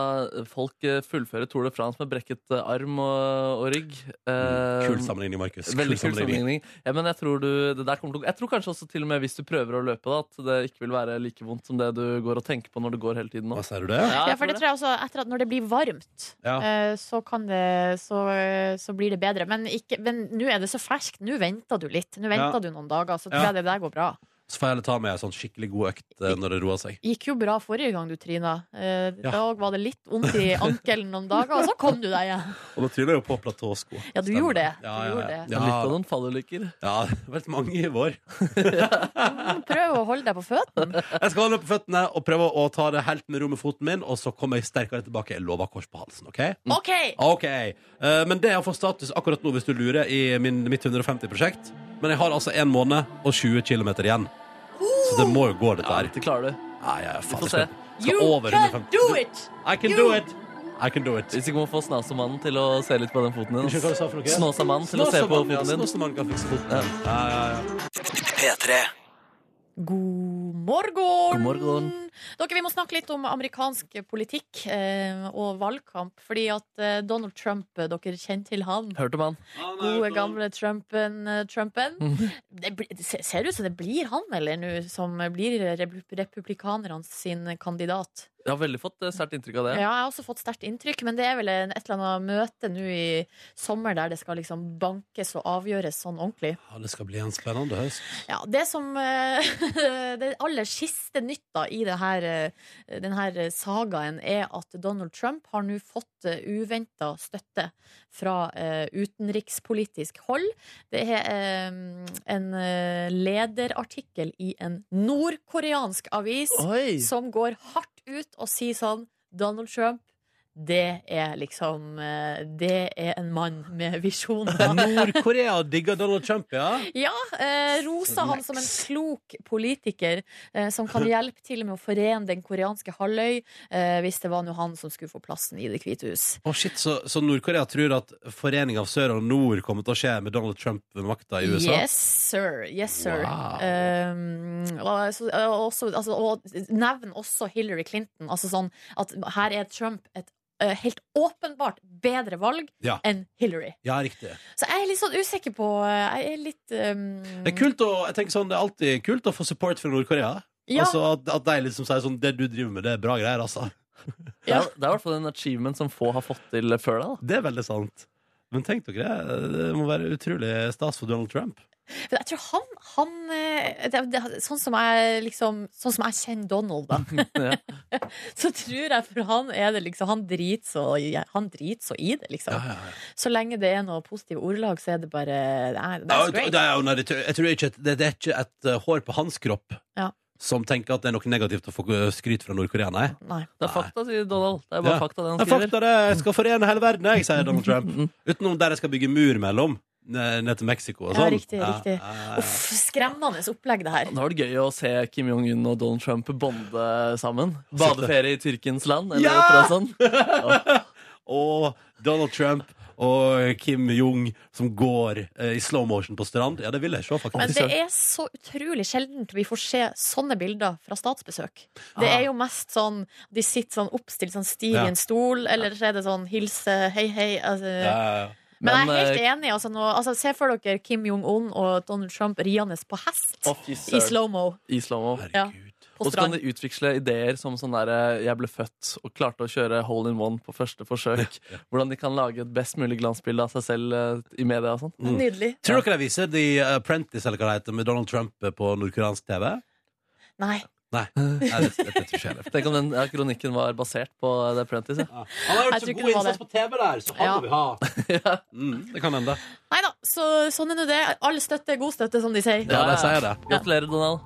S3: folk eh, fullfører Tour de France med brekket eh, arm og, og rygg. Eh,
S2: Mm, kul sammenligning, Markus. Kul
S3: Veldig kul
S2: sammenligning.
S3: sammenligning. Ja, men jeg tror, du, det der kommer til, å- jeg tror kanskje også til og med hvis du prøver å løpe, da, at det ikke vil være like vondt som det du går og tenker på når du går hele tiden nå.
S2: Hva sier du det?
S5: Ja, for det tror jeg også etter at når det blir varmt,
S3: Ja.
S5: eh, så, kan det, så, så blir det bedre. Men ikke- men nå er det så ferskt. Nå venter du litt. Nå
S2: Ja.
S5: venter du noen dager, så tror
S2: Ja.
S5: jeg det der går bra.
S2: Så får jeg heller ta med en sånn skikkelig god økt eh, når det roer seg.
S5: Gikk jo bra forrige gang du trina. Eh,
S2: Ja.
S5: Da var det litt vondt i ankelen noen dager, og så kom du deg igjen.
S2: Og da tryner jeg jo på platåsko.
S5: Ja, du gjorde det. Du
S2: Ja, ja,
S5: gjorde
S2: ja.
S5: det.
S2: Ja.
S3: Litt av noen fallulykker.
S2: Ja, det har vært mange i vår.
S5: Prøv å holde deg på føttene.
S2: Jeg skal holde meg på føttene og prøve å ta det helt med ro med foten min, og så kommer jeg sterkere tilbake. Jeg lover kors på halsen, OK?
S5: OK!
S2: Ok, Eh, Men det er å få status akkurat nå hvis du lurer i min, mitt 150-prosjekt. Men jeg har altså en måned og 20 km igjen. Så det må jo gå, dette her.
S3: Det klarer du.
S2: Nei, jeg er faen,
S3: Vi får
S2: jeg skal, skal over 150.
S5: it!
S2: I can do it! I can do it.
S3: Hvis ikke må få Snasamannen til å se litt på den foten din.
S2: Unnskyld, hva du sa for noe?
S3: Snåsamannen til å se på
S2: Snåsamannen, ja,
S3: foten din.
S2: Snåsamannen kan fikse foten. Ja, ja, ja.
S8: P3.
S5: God morgen!
S3: God morgen.
S5: Dere, Vi må snakke litt om amerikansk politikk eh, og valgkamp. Fordi at eh, Donald Trump, eh, dere kjenner til han.
S3: Hørte man?
S5: Gode, gamle Trumpen. eh, Trumpen. Det, blir- det ser- ser ut som det blir han, eller nå, som blir repu- republikanerne sin kandidat.
S3: Jeg har veldig fått eh, sterkt inntrykk av det.
S5: Ja, jeg har også fått sterkt inntrykk, men det er vel en, et eller annet møte nå i sommer der det skal liksom bankes og avgjøres sånn ordentlig.
S2: Ja, det skal bli en spennende høst.
S5: Ja, det som eh, Det aller siste nytt da i det her, eh, den her sagaen er at Donald Trump har nå fått uventa støtte fra eh, utenrikspolitisk hold. Det er eh, en eh, lederartikkel i en nordkoreansk avis
S3: Oi.
S5: som går hardt ut og sier sånn Donald Trump det er liksom eh, Det er en mann med visjoner.
S2: Nord-Korea digger Donald Trump, ja?
S5: Ja, eh, rosa han som en klok politiker eh, som kan hjelpe til med å forene den koreanske halvøy, eh, hvis det var nå han som skulle få plassen i Det hvite hus.
S2: Å shit, Så, så Nord-Korea tror at forening av sør og nord kommer til å skje med Donald Trump ved makta i USA?
S5: Yes, sir. Yes, sir.
S2: Wow.
S5: Um, og, så- og også, altså, og nevn også Hillary Clinton. Altså sånn at her er Trump et eh, helt åpenbart bedre valg
S2: Ja.
S5: enn Hillary.
S2: Ja, riktig.
S5: Så jeg er litt sånn usikker på Jeg er litt um,
S2: Det er kult å, jeg tenker sånn, det er alltid kult å få support fra Nord-Korea.
S5: eh, Ja.
S2: Altså at, at de liksom sier sånn Det du driver med, det er bra greier, altså.
S3: Det er, det er i hvert fall en achievement som få har fått til før deg.
S2: Det er veldig sant. Men tenk dere, det må være utrolig stas for Donald Trump.
S5: For jeg tror han, han eh, det, det, sånn, som jeg, liksom, sånn som jeg kjenner Donald, da,
S3: Ja.
S5: så tror jeg for han er det liksom Han driter så, i- han driter så i det, liksom. Så lenge det er noe positive ordlag, så er det bare nei,
S2: Ja,
S5: That's
S2: det-
S5: great.
S2: det er jo- nei, det tror- Jeg tror ikke at- det, det er ikke et eh, hår på hans kropp
S5: Ja.
S2: som tenker at det er noe negativt å få eh, skryt fra Nord-Korea, nei.
S5: Nei.
S3: Det er fakta, sier Donald. Det er bare
S2: Ja.
S3: fakta, det han
S2: Det er
S3: skriver.
S2: fakta, det. Jeg skal forene hele verden, jeg, sier Donald
S5: Mm.
S2: Trump. Utenom der jeg skal bygge mur mellom, eh, ned til Mexico og
S5: Ja,
S2: sånn.
S5: riktig, riktig. Uff, skremmende opplegg, det her.
S3: Det var det gøy å se Kim Jong-un og Donald Trump bonde sammen. Badeferie i Tyrkens land, eller
S2: Ja!
S3: ja! noe sånt.
S2: Og Donald Trump og Kim Jong som går eh, i slow motion på strand. Ja, det vil jeg se, faktisk.
S5: Men det er så utrolig sjeldent vi får se sånne bilder fra statsbesøk. Det
S2: Ah.
S5: er jo mest sånn de sitter sånn oppstilt, sånn stiv
S2: Ja.
S5: i en stol, eller så er det sånn hilse, hei, hei. Altså,
S2: Ja, ja.
S3: Men,
S5: Men, jeg er helt
S3: eh,
S5: enig. Altså, nå, altså, se for dere Kim Jong-un og Donald Trump riende på hest
S3: Å, fy søren.
S5: i slow-mo.
S3: I slow-mo.
S5: Ja, på
S3: Og så kan
S5: strand.
S3: de utveksle ideer som sånn der eh, Jeg ble født og klarte å kjøre hole in one på første forsøk. Hvordan de kan lage et best mulig glansbilde av seg selv eh, i media og sånn.
S2: Mm. Tror dere de viser The Apprentice eller hva det heter, med Donald Trump på nordkoreansk TV?
S5: Nei.
S2: Nei. Nei det, det, det tror ikke jeg.
S3: Tenk om den ja, kronikken var basert på eh, The Apprentice. Ja.
S2: Han har
S5: Jeg
S2: gjort
S5: tror
S2: så
S5: ikke
S2: god
S5: det var
S2: innsats på TV der, så han
S5: Ja.
S2: må vi ha. Mm, det kan hende.
S5: Nei da, så, sånn er nå det. All støtte er god støtte, som de sier.
S2: Ja, det sier det.
S3: Gratulerer, Donald.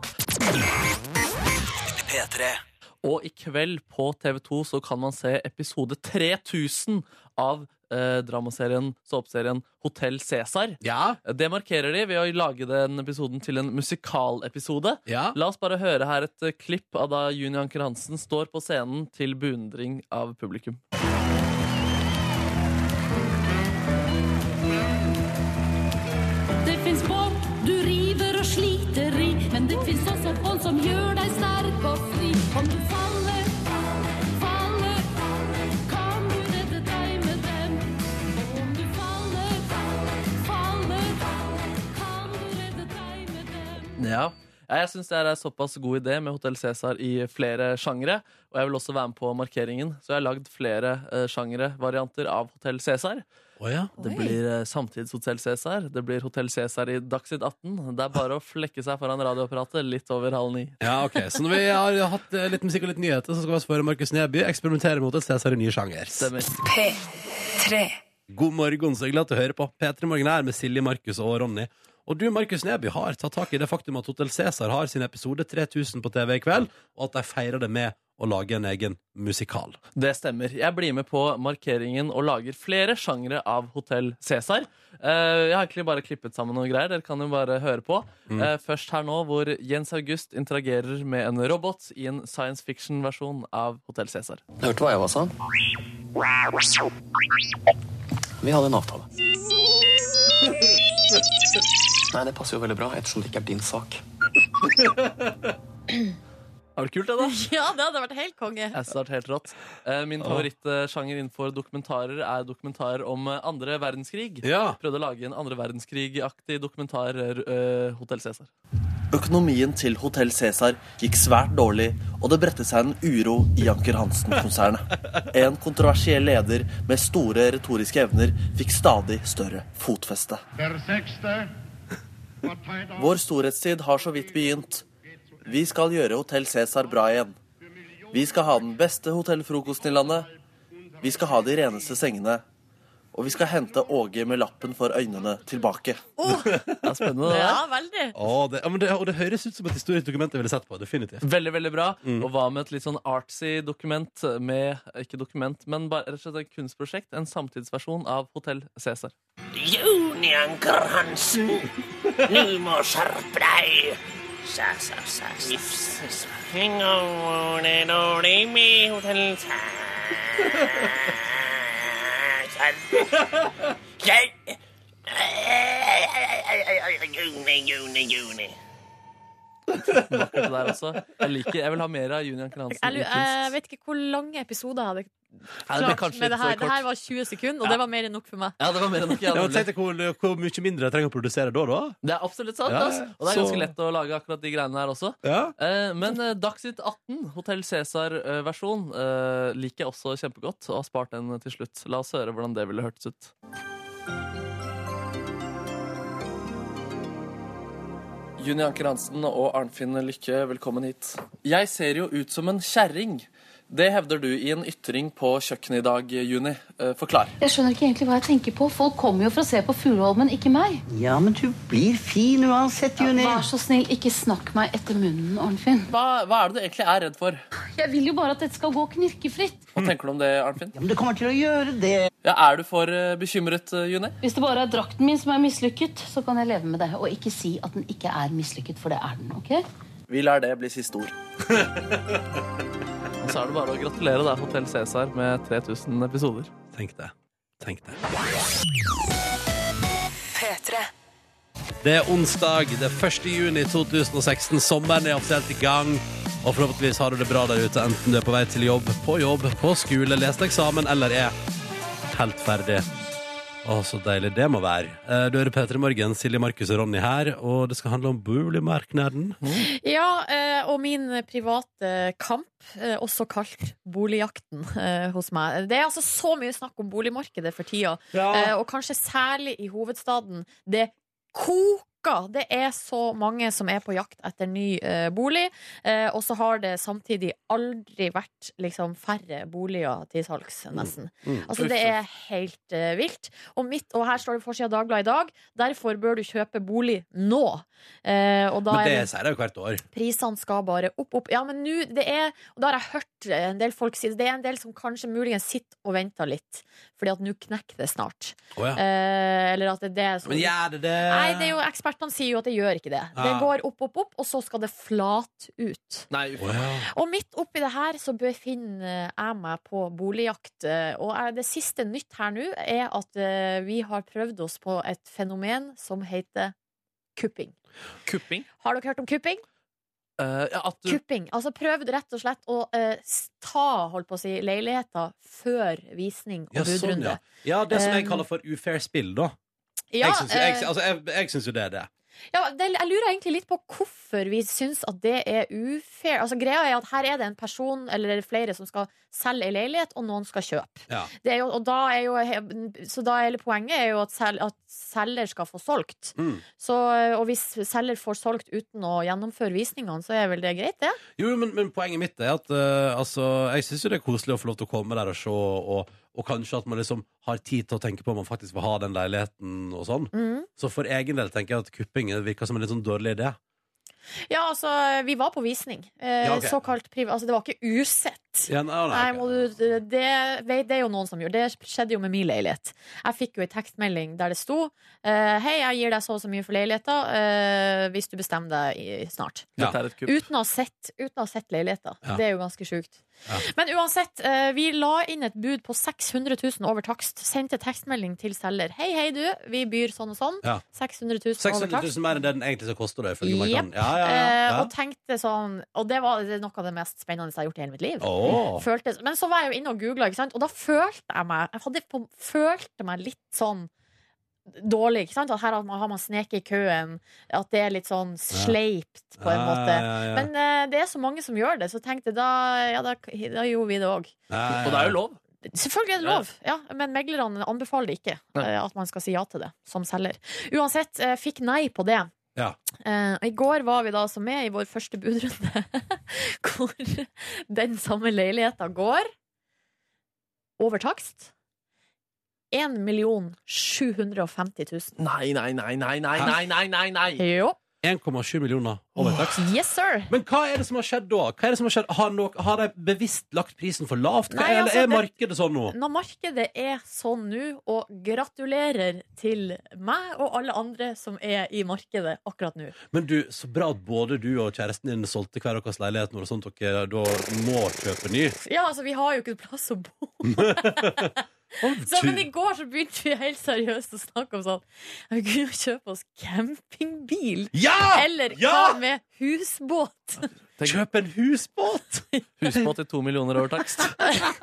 S3: Og i kveld på TV2 så kan man se episode 3000 av eh, dramaserien, såpeserien Hotell Cæsar. Det markerer de ved å lage den episoden til en musikalepisode. La oss bare høre her et eh, klipp av da Juni Anker Hansen står på scenen til beundring av publikum.
S15: Det fins folk du river og sliter i, men det fins også folk som gjør deg sterk og fri. Om du faller, faller, kan du redde deg med dem. Om du faller, faller, kan du redde deg med dem.
S3: Ja. Ja, Jeg syns det er en såpass god idé med Hotell Cæsar i flere sjangere. Og jeg vil også være med på markeringen, så jeg har lagd flere uh, sjangerevarianter av Hotell Cæsar. Det blir eh, samtidshotell Cæsar. Det blir Hotell Cæsar i Dagsnytt 18. Det er bare å flekke seg foran radioapparatet litt over halv ni.
S2: Ja, ok. Så når vi har hatt eh, litt musikk og litt nyheter, så skal vi også få høre Markus Neby eksperimentere mot et Cæsar i nye sjanger.
S16: P3.
S2: God morgen, så glad til å høre på. P3 Morgen er med Silje, Markus og Ronny. Og du, Markus Neby, har tatt tak i det faktum at Hotel Cæsar har sin episode 3000 på TV i kveld, og at de feirer det med å lage en egen musikal.
S3: Det stemmer. Jeg blir med på markeringen og lager flere sjangre av Hotell Cæsar. Eh, Jeg har egentlig bare klippet sammen noen greier. Dere kan jo bare høre på.
S17: Mm.
S3: Eh, Først her nå, hvor Jens August interagerer med en robot i en science fiction-versjon av Hotell Cæsar.
S17: Hørte hva Eva sa? Vi hadde en avtale. Nei, det passer jo veldig bra, ettersom det ikke er din sak.
S3: Har du kult det, da?
S5: Ja, det hadde vært helt konge.
S3: Jeg synes det har vært helt rått. Eh, Min
S5: Åh.
S3: favorittsjanger innenfor dokumentarer er dokumentarer om eh, andre verdenskrig. Prøvde å lage en andre verdenskrig-aktig dokumentar, eh, Hotel Cæsar.
S18: Økonomien til Hotell Cæsar gikk svært dårlig, og det bredte seg en uro i Anker-Hansen-konsernet. En kontroversiell leder med store retoriske evner fikk stadig større fotfeste.
S19: Versekste.
S18: Vår storhetstid har så vidt begynt. Vi skal gjøre Hotell Cæsar bra igjen. Vi skal ha den beste hotellfrokosten i landet. Vi skal ha de reneste sengene. Og vi skal hente Åge med lappen for øynene tilbake.
S3: Det er spennende, det
S5: Ja,
S3: der.
S5: veldig.
S2: Å, det, ja, men det, og det høres ut som et historisk dokument jeg ville sett på. Definitivt.
S3: Veldig, veldig bra.
S2: Mm.
S3: Og hva med et litt sånn artsy dokument med Ikke dokument, men bare, rett og slett et kunstprosjekt. En samtidsversjon av Hotell Cæsar.
S6: Juni Anker Hansen, du må skjerpe deg. Sa, sa, sa, sa, sa, sa. Fingo, det er dårlig med hotell. Sa, sa. Jeg... Juni, juni, juni.
S3: Vakkert det der også. Jeg liker, jeg vil ha mer av Junior Anker Hansen.
S5: Jeg, lu-
S3: i kunst.
S5: jeg vet ikke hvor lange episoder jeg hadde
S3: Nei, det ble
S5: klart
S3: kanskje
S5: med det
S3: litt
S5: her.
S3: kort.
S5: Det her var 20 sekunder, og det var mer enn nok for meg.
S3: Ja, det var mer enn nok.
S2: Ja,
S3: Ja,
S2: men
S3: nemlig.
S2: tenk deg hvor, hvor mye mindre jeg trenger å produsere da, da.
S3: Det er absolutt sant.
S2: Ja, ja.
S3: ass. Og det er
S2: Så-
S3: ganske lett å lage akkurat de greiene her også.
S2: Ja.
S3: Eh, men eh, Dagsnytt 18, Hotell Cæsar-versjon, eh, liker jeg også kjempegodt. Og har spart den eh, til slutt. La oss høre hvordan det ville hørtes ut. Juni Anker Hansen og Arnfinn Lykke, velkommen hit. Jeg ser jo ut som en kjerring. Det hevder du i en ytring på kjøkkenet i dag, Juni. Eh, Forklar.
S12: Jeg skjønner ikke egentlig hva jeg tenker på. Folk kommer jo for å se på Fugleholmen, ikke meg.
S20: Ja, men du blir fin uansett, Juni.
S12: Vær så snill, ikke snakk meg etter munnen, Arnfinn.
S3: Hva, hva er det du egentlig er redd for?
S12: Jeg vil jo bare at dette skal gå knirkefritt.
S3: Hva tenker du om det, Arnfinn? Ja,
S20: men det kommer til å gjøre det.
S3: Ja, er du for eh, bekymret, eh, Juni?
S12: Hvis det bare er drakten min som er mislykket, så kan jeg leve med det. Og ikke si at den ikke er mislykket, for det er den, ok?
S18: Vi lar det bli siste ord.
S3: Og så er det bare å gratulere deg, Hotell Cæsar, med 3000 episoder. Tenk det. Tenk det.
S16: P3.
S2: Det er onsdag, det er 1. juni 2016. Sommeren er offisielt i gang. Og forhåpentligvis har du det bra der ute, enten du er på vei til jobb, på jobb, på skole, leste eksamen eller er helt ferdig. Å, så deilig det må være. Eh, Du hører P3 Morgen, Silje, Markus og Ronny her, og det skal handle om boligmarkedet.
S5: Ja, eh, og min private kamp, eh, også kalt boligjakten eh, hos meg. Det er altså så mye snakk om boligmarkedet for tida,
S21: Ja.
S5: eh, og kanskje særlig i hovedstaden. Det koker! Det er så mange som er på jakt etter ny eh, bolig, eh, og så har det samtidig aldri vært liksom, færre boliger til salgs, nesten. Altså, det er helt eh, vilt. Og, mitt, og her står det på forsida av Dagbladet i dag. Derfor bør du kjøpe bolig nå. Eh, og da
S2: Men det
S5: er
S2: sier de jo hvert år.
S5: Prisene skal bare opp, opp. Ja, men nå, det er Og da har jeg hørt eh, en del folk si det. Det er en del som kanskje muligens sitter og venter litt, fordi at nå knekker det snart.
S2: Å ja.
S5: eh, eller at det er det som
S2: Men gjør det det?
S5: Nei, det er jo, ekspertene sier jo at det gjør ikke det. Det
S2: Ja.
S5: går opp, opp, opp, og så skal det flat ut.
S3: Nei,
S5: Og midt oppi det her så befinner jeg meg på boligjakt. eh, Og jeg- det siste nytt her nå er at eh, vi har prøvd oss på et fenomen som heter kupping.
S3: Kupping?
S5: Har dere hørt om kupping?
S3: Eh, ja, at du...
S5: Kupping. Altså prøvd rett og slett å eh, s- ta holdt på å si, leiligheter før visning og
S2: Ja, sånn,
S5: budrunde.
S2: ja. ja, det som jeg
S5: Um,
S2: kaller for ufair spill, da.
S5: Ja,
S2: jeg syns jo- jeg,
S5: eh,
S2: altså, jeg, jeg syns jo det er det.
S5: Ja, det, jeg lurer egentlig litt på hvorfor vi syns at det er ufair. Altså, greia er at her er det en person eller flere som skal selge ei leilighet, og noen skal kjøpe.
S2: Ja.
S5: Det er jo, og da er jo, så da er hele poenget er jo at, sel, at selger skal få solgt.
S2: Mm.
S5: Så, eh, og hvis selger får solgt uten å gjennomføre visningene, så er vel det greit, det?
S2: Jo, men, men poenget mitt er at eh, altså, jeg syns jo det er koselig å få lov til å komme der og se, og, og kanskje at man liksom har tid til å tenke på om man faktisk vil ha den leiligheten og sånn.
S5: Mm.
S2: Så for egen del tenker jeg at kupping virker som en litt sånn dårlig idé.
S5: Ja, altså, vi var på visning. Eh,
S2: Ja, ok.
S5: Såkalt priv... Altså, det var ikke usett. leilighet.
S2: Ja, nei,
S5: Nei,
S2: nei.
S5: må du, det, vet- det er jo noen som gjør Det skjedde jo med min leilighet. Jeg fikk jo en tekstmelding der det sto eh, Hei, jeg gir deg så og så mye for leiligheta eh, hvis du bestemmer deg i, snart.
S3: Ja. Dette er et kupp.
S5: Uten å ha sett, uten å ha sett leiligheta.
S3: Ja.
S5: Det er jo ganske sjukt. Men uansett, eh, vi la inn et bud på 600 000 over takst. Sendte tekstmelding til selger. Hei, hei, du. Vi byr sånn og sånn.
S2: Ja.
S5: 600 000 over
S2: 600
S5: takst.
S2: 000 mer enn det den egentlig skal koste deg, ifølge
S5: Jepp.
S2: Markan. Ja, ja,
S5: Eh,
S2: ja.
S5: og tenkte sånn Og det var det er noe av det mest spennende jeg har gjort i hele mitt liv.
S2: Åh.
S5: Føltes- men så var jeg jo inne og googla, ikke sant? og da følte jeg meg Jeg hadde på, følte meg litt sånn dårlig. Ikke sant? At her har man, har man sneket i køen. At det er litt sånn sleipt, på en
S2: Ja,
S5: måte.
S2: ja, ja.
S5: Men eh, det er så mange som gjør det, så tenkte jeg da, ja, da, da gjorde vi det òg.
S2: Ja,
S3: Og det er jo lov.
S5: Selvfølgelig er det lov, ja, men meglerne anbefaler det ikke.
S3: Nei.
S5: eh, At man skal si ja til det som selger. Uansett, eh, fikk nei på det.
S2: Ja.
S5: Eh, og I går var vi da altså med i vår første budrunde, hvor den samme leiligheta går over takst 1 750 000.
S3: Nei, nei, nei, nei, nei, nei, nei, nei, nei.
S5: Jo.
S2: 1,7 millioner over takst.
S5: Yes, sir.
S2: Men hva er det som har skjedd da? Hva er det som Har skjedd? Har, nok, har de bevisst lagt prisen for lavt? Hva,
S5: Nei, altså,
S2: eller er
S5: det-
S2: markedet sånn nå?
S5: Når markedet er sånn nå, og gratulerer til meg og alle andre som er i markedet akkurat nå.
S2: Men du, så bra at både du og kjæresten din solgte hver deres leilighet når sånt dere da må kjøpe ny.
S5: Ja, altså, vi har jo ikke plass å bo. Så, men i går så begynte vi helt seriøst å snakke om sånn Vi kunne jo kjøpe oss campingbil.
S2: Ja!
S5: Eller
S2: Ja!
S5: hva med husbåt?
S2: Kjøp en husbåt!
S3: Husbåt i to millioner over takst.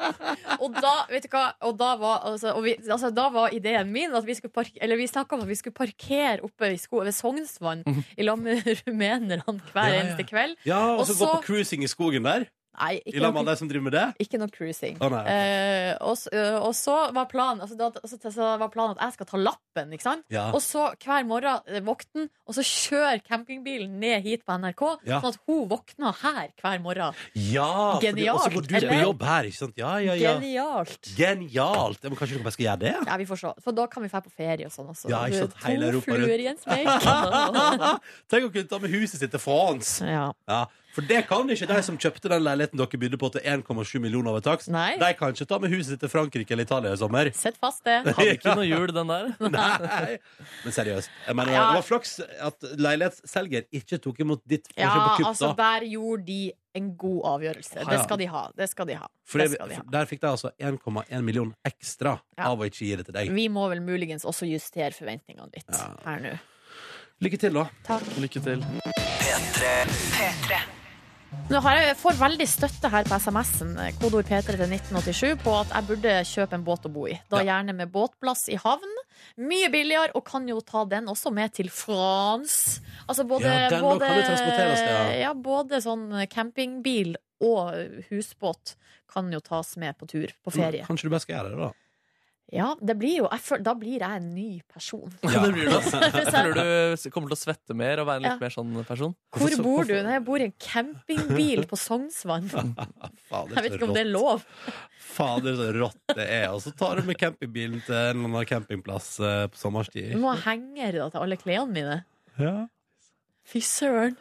S5: Og da, vet du hva, og da var, altså, og vi, altså, da var ideen min at vi skulle park- Eller vi snakka om at vi skulle parkere oppe i sko, ved Sognsvann i lag med rumenerne hver
S2: Mhm. Ja, ja.
S5: eneste kveld.
S2: Ja, og så
S5: Og
S2: gå
S5: så-
S2: på cruising i skogen der?
S5: Nei,
S2: I
S5: ikke
S2: lag med
S5: noe-
S2: alle de som driver med det?
S5: Ikke noe cruising.
S2: Å, nei, ok.
S5: Eh, og, s- eh, og så var planen altså, da, altså, så var planen at jeg skal ta lappen, ikke sant?
S2: Ja.
S5: Og så hver morgen eh, våkne den, og så kjøre campingbilen ned hit på NRK,
S2: Ja.
S5: sånn at hun våkna her hver morgen.
S2: Ja! fordi- Og så går du
S5: Genialt,
S2: på
S5: eller?
S2: jobb her, ikke sant? Ja, ja, ja.
S5: Genialt!
S2: Genialt! Ja, men kanskje dere bare skal gjøre det?
S5: Ja, vi får se. For da kan vi dra på ferie og sånn også.
S2: Ja, ikke sant? Hele
S5: to
S2: Europa
S5: fluer i en smekk. sånn,
S2: Tenk å kunne ta med huset sitt til France.
S5: Ja.
S2: For det kan ikke de som kjøpte den leiligheten dere bydde på til 1,7 millioner over takst. De kan ikke ta med huset sitt til Frankrike eller Italia i sommer.
S5: Sett fast det.
S2: Hadde ikke noe
S3: jul, den der.
S2: Nei. Men seriøst, jeg mener,
S5: Ja.
S2: det var flaks at leilighetsselger ikke tok imot ditt
S5: Ja,
S2: forslag på kupp,
S5: altså,
S2: da.
S5: der gjorde de en god avgjørelse.
S2: Ja.
S5: Det skal de ha. Det skal de ha.
S2: For
S5: Det
S2: det-
S5: skal de ha.
S2: for der fikk de altså 1,1 million ekstra
S5: Ja.
S2: av å ikke gi det til deg.
S5: Vi må vel muligens også justere forventningene litt her nå.
S2: Lykke til, da.
S5: Takk.
S3: Lykke til.
S5: Nå har jeg, jeg får veldig støtte her på SMS-en, eh, kodeord P3 til 1987, på at jeg burde kjøpe en båt å bo i. Da gjerne med båtplass i havn. Mye billigere, og kan jo ta den også med til France. Altså både,
S2: Ja, den nå
S5: både,
S2: kan jo transporteres, ja.
S5: ja, både sånn campingbil og eh, husbåt kan jo tas med på tur,
S2: Mm.
S5: på ferie.
S2: Kanskje du bare skal gjøre det, da.
S5: Ja, det blir jo, jeg føl, da blir jeg en ny person.
S3: Ja. Det blir det. altså.
S5: For
S3: Jeg
S5: sånn,
S3: tror du kommer til å svette mer og være en litt
S5: Ja.
S3: mer sånn person.
S5: Hvor bor du? Nei, jeg bor i en campingbil på Sognsvann.
S2: Fader,
S5: Jeg vet
S2: så
S5: ikke om det er
S2: rått.
S5: lov.
S2: Fader, så rått det er. Og så tar du med campingbilen til en eller annen campingplass eh, på sommerstid.
S5: Du må ha henger da, til alle klærne mine.
S2: Ja.
S5: Fy søren.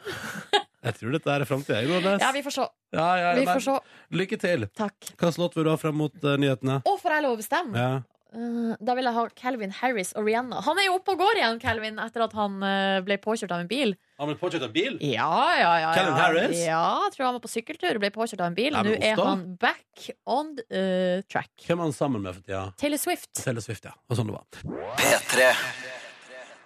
S2: Jeg tror dette er framtida, jeg, Nordnes.
S5: Ja, vi får se.
S2: Ja, ja,
S5: Vi
S2: men
S5: får se.
S2: Lykke til.
S5: Takk.
S2: Hvilken låt vil du ha frem mot eh, nyhetene?
S5: Å, får jeg lov å bestemme?
S2: Ja.
S5: Eh, Da vil jeg ha Calvin Harris og Rihanna. Han er jo oppe og går igjen, Calvin, etter at han eh, ble påkjørt av en bil.
S2: Har vi påkjørt av bil?
S5: Ja, ja, ja.
S2: Calvin
S5: ja.
S2: Harris?
S5: Ja, jeg tror han var på sykkeltur og ble påkjørt av en bil.
S2: Nei,
S5: Nå
S2: men
S5: er
S2: Osta?
S5: han back on eh, track.
S2: Hvem er han sammen med for tida?
S5: Taylor Swift.
S2: Taylor Swift, ja. Og sånn det var.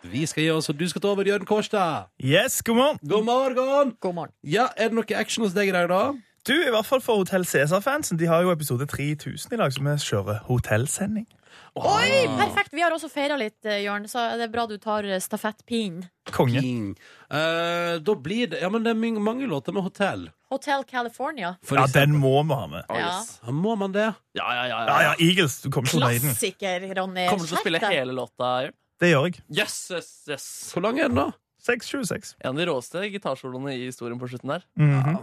S2: Vi skal gi oss, og du skal ta over, Jørn Kårstad.
S19: Yes, god morgen.
S2: God morgen.
S5: God morgen.
S2: Ja, Er det noe action hos deg i dag, da?
S19: Du, i hvert fall for Hotell Cæsar-fansen. De har jo episode 3000 i dag, så vi kjører hotellsending.
S5: Oi, perfekt! Vi har også feira litt, eh, Jørn, så det er bra du tar eh, stafettpinnen.
S19: Konge.
S2: Eh, da blir det Ja, men det er min- mange låter med hotell.
S5: Hotel California.
S19: Ja, den må vi ha med.
S5: Ja.
S2: Ja, må man det?
S3: Ja, ja, ja.
S19: Ja, ja, Eagles. Du kommer ikke unna i den.
S5: Klassiker, Ronny.
S3: Kommer du til å spille
S5: Skjerp deg.
S3: hele låta, Jørn?
S19: Det gjør jeg.
S3: Yes, yes, yes.
S2: Hvor lang er den, da?
S19: 626.
S3: En av de råeste gitarsoloene i historien på slutten der.
S19: Mhm.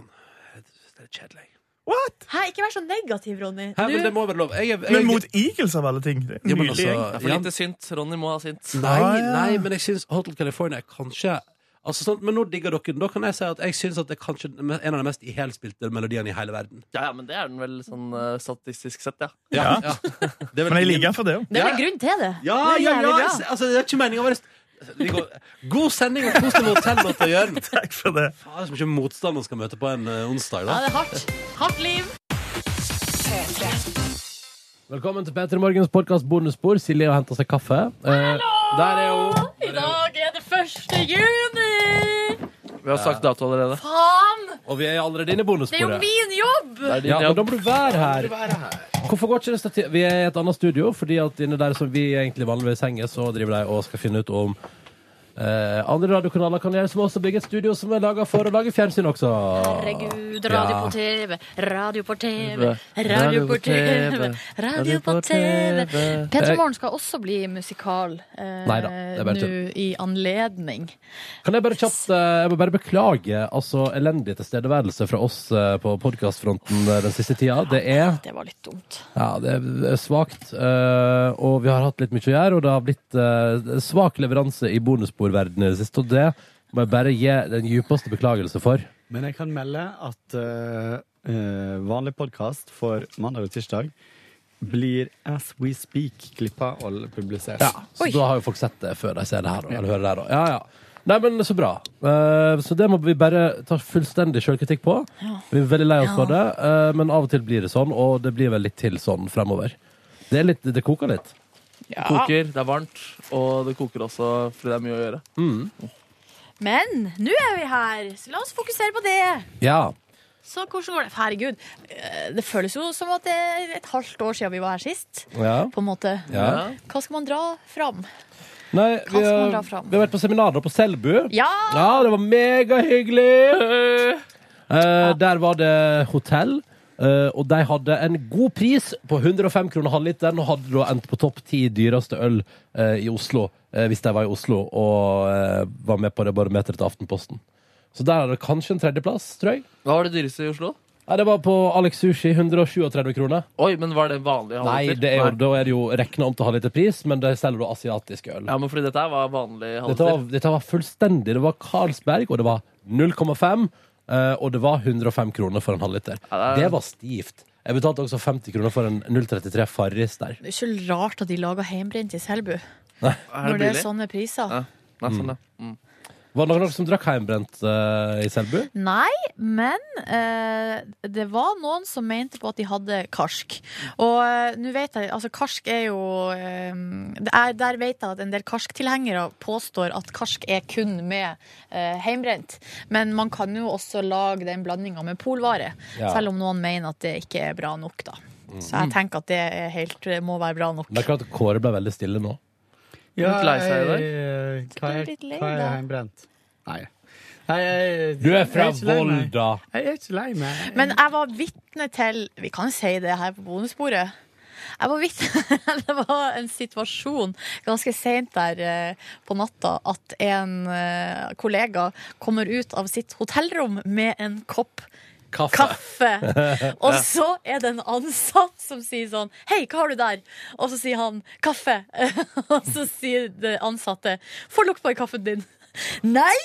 S5: Hæ, ikke vær så negativ, Ronny.
S3: Hæ, men
S5: Du-
S3: det må være lov. Jeg er- jeg-
S19: Men mot Eagles, av alle ting. Det er
S2: Ja, men
S19: nydelig.
S2: altså,
S19: gjeng.
S3: Det er for lite synt. Ronny må ha synt.
S2: Nei, nei, men jeg syns Hotel California er kanskje
S22: Altså, sånn, men nå digger dere den. Da kan jeg si at jeg syns at det er kanskje en av de mest ihælspilte melodiene i hele verden.
S3: Ja, ja, men det er den vel sånn eh, statistisk sett, ja.
S22: Ja.
S6: Men jeg liker den for det òg.
S5: Det er vel grunn til det.
S22: Ja,
S5: Det er
S22: ja, ja!
S5: jævlig bra.
S22: jeg- Altså, det er ikke meningen å være det går- God sending og kos deg med hotellet til Jørn. Takk for det. Faen, det er så mye motstand man skal møte på en eh, onsdag.
S5: Ja,
S22: da
S5: det er hardt. Hardt liv.
S2: Velkommen til Peter Morgens podkast bonusbord. Silje har henta seg kaffe. Eh, der er hun.
S5: I dag er det 1. juni!
S2: Vi har sagt dato allerede.
S5: Faen!
S2: Og vi er allerede inne i
S5: Det er jo
S2: bonussporet.
S5: min jobb!
S2: Ja, men da må du være her. Hvorfor går ikke det stativ? Vi er i et annet studio, fordi at inne der som vi egentlig vanligvis henger, så driver de og skal finne ut om eh, andre radiokanaler kan gjøre, som også bygger et studio som er laga for å lage fjernsyn også.
S5: Herregud, radio på
S2: Ja.
S5: TV, radio på TV,
S2: TV,
S5: radio på TV, radio på TV.
S2: TV.
S5: Petter Morgen skal også bli musikal eh,
S2: Neida, det er bare
S5: nå
S2: tull.
S5: i anledning.
S2: Kan jeg bare kjapt eh, Jeg må bare beklage altså, elendig tilstedeværelse fra oss eh, på podkastfronten den siste tida. Det er
S5: Det var litt dumt.
S2: ja, det er svakt, eh, og vi har hatt litt mye å gjøre, og det har blitt eh, svak leveranse i bonusbordverdenen i det siste, og det må jeg bare gi den djupeste beklagelse for.
S1: Men jeg kan melde at eh, eh, vanlig podkast for mandag og tirsdag blir As We Speak klippa og publisert.
S2: Ja, så da har jo folk sett det før de ser det her, da, eller hører det her, da. Ja, ja. Nei, men så bra. Eh, så det må vi bare ta fullstendig sjølkritikk på.
S5: Ja.
S2: Vi er veldig lei oss
S5: Ja.
S2: for det, eh, men av og til blir det sånn, og det blir vel litt til sånn fremover. Det, er litt, det koker litt.
S3: Det koker, det er varmt, og det koker også fordi det er mye å gjøre.
S5: Men nå er vi her, så la oss fokusere på det.
S2: Ja.
S5: Så hvordan går det? Herregud, eh, det føles jo som at det er et halvt år siden vi var her sist.
S2: Ja.
S5: På en måte.
S2: Ja.
S5: Hva skal man dra fram?
S2: Nei,
S5: Hva
S2: vi,
S5: skal man
S2: har,
S5: dra
S2: vi
S5: fram?
S2: har vært på seminar da på Selbu.
S5: Ja!
S2: det var megahyggelig! Eh, der var det hotell, eh, og de hadde en god pris på 105 kroner halvliteren, og hadde da endt på topp ti dyreste øl eh, i Oslo, eh, hvis de var i Oslo, og eh, var med på det barometeret til Aftenposten. Så der er det kanskje en tredjeplass, tror jeg.
S3: Hva var det dyreste i Oslo?
S2: Nei, det var på Alex Sushi, 137 kroner.
S3: Oi, men var det vanlig
S2: Nei,
S3: halvliter?
S2: det er jo, da er det jo rekna om til halvliterpris, men de selger da asiatisk øl.
S3: Ja, men fordi dette her var vanlig
S2: Dette var,
S3: halvliter.
S2: dette var fullstendig. Det var Carlsberg, og det var 0,5. eh, og det var 105 kroner for en halvliter.
S5: det er-
S2: Det var stivt. Jeg betalte også 50 kroner for en 0,33 Farris der.
S5: Det er ikke rart at de lager heimbrent i Selbu.
S2: det
S5: Når det er sånn-
S2: billig?
S5: sånne priser.
S3: sånn,
S2: Mm. Var det noen av dere som drakk heimbrent eh, i Selbu?
S5: Nei, men eh, det var noen som mente på at de hadde karsk. Og eh, nå vet jeg Altså, karsk er jo eh, det er, Der vet jeg at en del karsktilhengere påstår at karsk er kun med eh, heimbrent. Men man kan jo også lage den blandinga med polvare.
S2: Ja.
S5: Selv om noen mener at det ikke er bra nok, da. Så jeg tenker at det er helt, det må være bra nok.
S2: Men det er klart at Kåre ble veldig stille nå.
S1: Ja,
S2: Litt lei seg i dag.
S1: jeg- Hva
S5: Du
S1: er,
S5: er litt lei
S1: hva er
S5: deg.
S1: heimbrent? Nei. Nei, jeg,
S2: Du er fra
S1: jeg ikke lei meg.
S2: Volda.
S1: Jeg er ikke lei meg.
S5: Men jeg var vitne til Vi kan si det her på bonusbordet. Jeg var vitne Det var en situasjon ganske seint der eh, på natta at en eh, kollega kommer ut av sitt hotellrom med en kopp
S2: Kaffe.
S5: kaffe. Og så er det en ansatt som sier sånn Hei, hva har du der? Og så sier han kaffe. Og så sier det ansatte Få lukt på i kaffen din. Nei,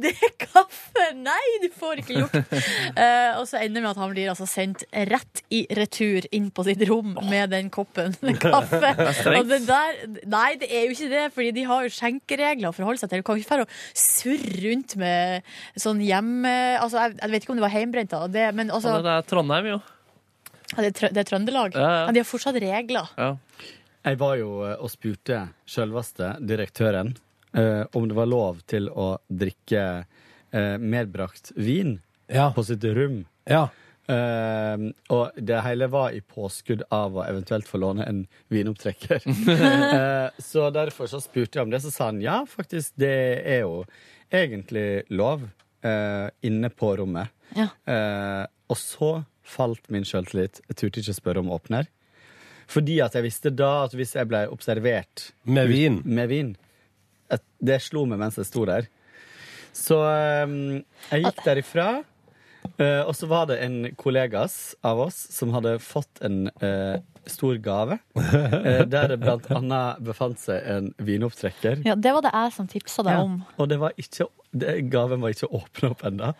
S5: det er kaffe! Nei, du får ikke lukt. Eh, og så ender det med at han blir altså sendt rett i retur inn på sitt rom med den koppen med kaffe.
S23: Det er strengt.
S5: Og det der, nei, det er jo ikke det, Fordi de har jo skjenkeregler å forholde seg til. Du kan jo ikke dra og surre rundt med sånn hjemme... Altså, jeg, jeg vet ikke om det var heimbrent, da, det, men altså
S3: Ja, men det er Trondheim, jo.
S5: ja, det, er Trø- det er Trøndelag.
S1: Ja, ja.
S5: Men de har fortsatt regler.
S1: Jeg var jo eh, og spurte selveste direktøren eh, om det var lov til å drikke eh, medbrakt vin på sitt rom. Eh, og det hele var i påskudd av å eventuelt få låne en vinopptrekker. Eh, så derfor så spurte jeg om det, så sa han ja, faktisk, det er jo egentlig lov eh, inne på rommet.
S5: Ja.
S1: Eh, og så falt min sjøltillit. Jeg turte ikke spørre om åpner. Fordi at jeg visste da at hvis jeg ble observert
S2: Med vin.
S1: med vin at Det slo meg mens jeg sto der. Så eh, jeg gikk derifra. Eh, og så var det en kollegas av oss som hadde fått en eh, stor gave. eh, der det blant annet befant seg en vinopptrekker.
S5: Ja, det var det jeg som tipsa deg om.
S1: Og det var ikke
S21: det- Gaven var ikke åpna opp ennå.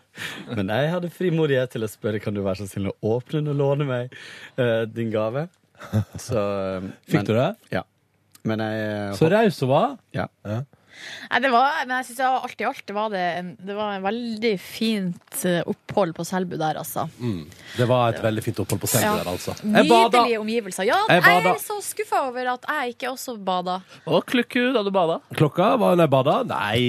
S21: Men jeg hadde frimodighet til å spørre Kan du være så snill å åpne den og låne meg eh, din gave. Så,
S2: Fikk du det?
S21: Ja. Men jeg eh,
S2: Så raus hun var.
S21: Ja.
S5: Nei, det var, men jeg synes det var alt i alt det var det, en, det var en veldig fint eh, opphold på Selbu der, altså.
S2: Mm. Det var et veldig fint opphold på Selbu
S5: Ja.
S2: der, altså. Jeg bada.
S5: Nydelige omgivelser. Ja,
S2: Jeg
S5: jeg,
S2: bada.
S5: er så skuffa over at jeg ikke også bada.
S3: Og klukku da du bada.
S2: Klokka var når jeg bada. Nei,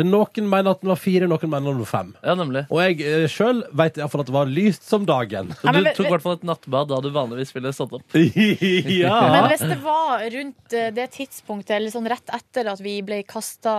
S2: det er noen mener at den var fire, noen mener den var fem.
S3: Ja, nemlig.
S2: Og jeg eh, sjøl veit iallfall at det var lyst som dagen.
S3: Så du tok i hvert fall et nattbad da du vanligvis ville stått opp.
S2: ja.
S5: Men hvis det var rundt eh, det tidspunktet, eller sånn rett etter at vi ble kasta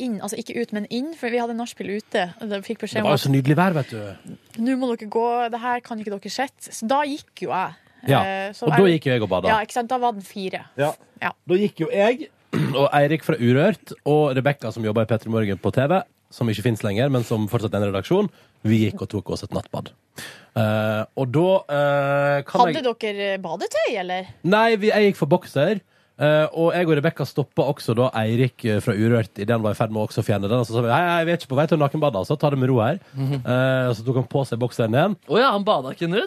S5: inn, altså ikke ut, men inn, for vi hadde nachspiel ute, og fikk
S2: Det
S5: beskjed om
S2: var jo
S5: at
S2: så nydelig vær, vet
S5: Eh,
S2: du.
S5: nå må dere gå, det her kan ikke dere sette. Så da gikk jo jeg.
S2: Ja,
S5: Eh, så
S2: og da gikk jeg og badet.
S5: Ja, ikke sant? Da var den fire.
S2: Da gikk jo jeg og Eirik fra Urørt og Rebekka, som jobba i P3 Morgen på TV, som ikke fins lenger, men som fortsatt er en redaksjon, vi gikk og tok oss et nattbad. Eh, og da eh, kan
S5: Hadde
S2: jeg
S5: dere badetøy, eller?
S2: Nei, vi, jeg gikk for bokser. eh, og jeg og Rebekka stoppa også da Eirik eh, fra Urørt idet han var i ferd med å også fjerne den. Og så sa vi hei, hei, vi er ikke på vei til nakenbadet, altså. Ta det med ro her. Eh, og så tok han på seg bokseren igjen.
S3: Å ja, han bada ikke nude?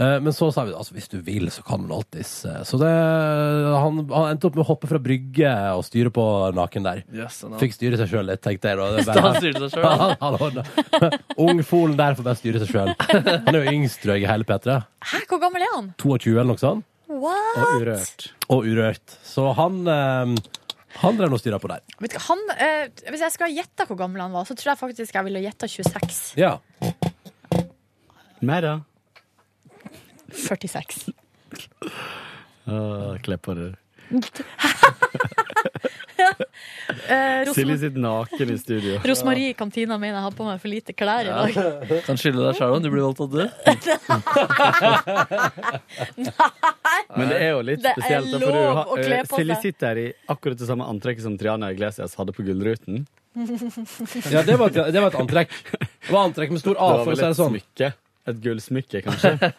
S2: Eh, Men så sa vi altså, hvis du vil, så kan man alltids eh, Så det, han, han endte opp med å hoppe fra brygge og styre på naken der.
S3: Yes, han har-
S2: Fikk styre seg sjøl litt, tenkte jeg. Da. Det er
S3: Han styrte seg selv.
S2: Han- han ordnet- Ung folen der får bare styre seg sjøl. Han er jo yngst, tror jeg, i hele P3.
S5: Hæ, hvor gammel er han?
S2: 22 eller noe sånt.
S5: What?
S2: urørt. Og urørt. Så han eh, Han drev og styra på der.
S5: Vet du, han, eh, hvis jeg skulle ha gjetta hvor gammel han var, så tror jeg faktisk jeg ville gjetta 26.
S2: Ja.
S21: Meg, da?
S5: 46.
S21: Å, Kle på deg.
S5: Eh, Ros-
S21: Silje sitter naken i studio.
S5: Rosmarie i kantina mener jeg har på meg for lite klær i dag.
S3: Kan skylde deg sjæl om du blir voldtatt, du.
S21: Men det er jo litt
S5: Det er
S21: spesielt. da, for
S5: lov
S21: du har- eh,
S5: å kle på
S21: Silje
S5: seg.
S21: sitter her i akkurat det samme antrekket som Triana Iglesias hadde på Gullruten.
S2: Ja, det var, et- det var et antrekk. Det var antrekk med stor A,
S21: Det var
S2: for å
S21: vel
S2: si det
S21: et
S2: sånn.
S21: smykke. Et gullsmykke, kanskje.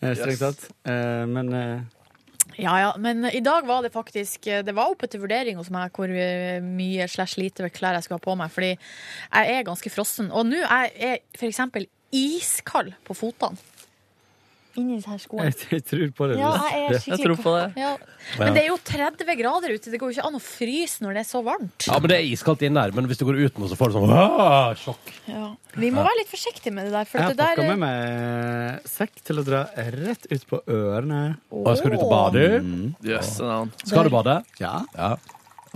S21: Eh, Strengt
S2: Yes.
S21: tatt. Eh, Men eh,
S5: Ja, ja, men i dag var det faktisk eh, Det var oppe til vurdering hos meg hvor eh, mye slash lite klær jeg skulle ha på meg, fordi jeg er ganske frossen. Og nå er jeg for eksempel iskald på fotene. Inni disse her skoene.
S21: jeg, jeg tror på det.
S5: Ja,
S21: Liss.
S5: jeg er skikkelig
S2: Ja.
S5: Ja. Men det er jo 30 grader ute. Det går jo ikke an å fryse når det er så varmt.
S2: Ja, men Det er iskaldt inn der, men hvis du går ut nå, så får du sånn «Åh, sjokk.
S5: Ja. Vi må
S21: Ja.
S5: være litt forsiktige med det der. For at
S21: Jeg har
S5: det
S21: pakka
S5: der
S21: med meg sekk til å dra rett ut på ørene.
S2: Og skal du ut og bade?
S3: Yes,
S2: Skal du bade?
S21: Ja.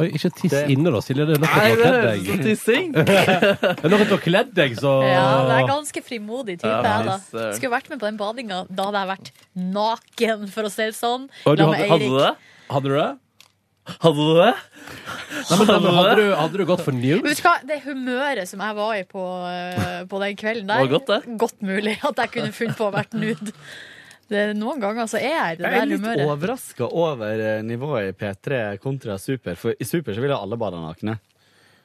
S2: Oi, ikke tiss inne da, Silje. Det er nok at du har
S3: Nei,
S2: kledd
S3: det
S2: deg.
S3: høres ut som tissing.
S2: det er nok at du har kledd deg, så
S5: Ja, det er ganske frimodig type.
S2: Ja,
S5: jeg,
S2: fy
S5: da.
S2: søren.
S5: Skulle vært med på den badinga. Da hadde jeg vært naken, for å si det sånn.
S2: Og du
S5: La
S2: hadde,
S5: meg
S2: hadde du
S5: Eirik.
S2: det? Hadde du det?
S3: Hadde du det?
S2: Nei, men, hadde, hadde, du, hadde du gått for
S5: Men
S2: nude?
S5: Vet du hva, Det humøret som jeg var i på, eh, på den kvelden der
S2: Var godt, det?
S5: Godt mulig at jeg kunne funnet på å vært nude. Det, noen ganger så er jeg i det
S21: Jeg er
S5: der
S21: litt
S5: humøret.
S21: overraska over eh, nivået i P3 kontra Super. For i Super så vil jo alle bade nakne.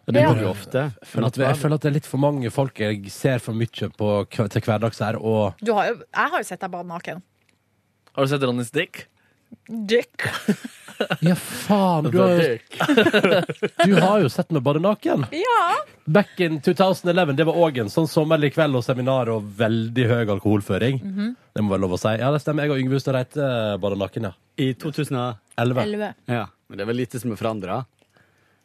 S21: Og det
S2: Ja.
S21: gjør de jo ofte.
S2: Jeg føler, at, jeg føler at det er litt for mange folk jeg ser for mye på, kve- til hverdags her, og
S5: Du har jo, jeg har jo sett deg bade naken.
S3: Har du sett Ronnys dick?
S5: Dick.
S2: Ja, faen! Du har, du har jo sett meg bade naken.
S5: Ja.
S2: Back in 2011. Det var òg en sånn sommerlig kveld og seminar og veldig høy alkoholføring.
S5: Mhm.
S2: Det må være lov å si. Ja, det stemmer. Jeg og Yngve Hustad Reite bada naken, ja.
S21: I eh, 2011.
S5: Elleve.
S21: Ja, men det er vel lite som er forandra.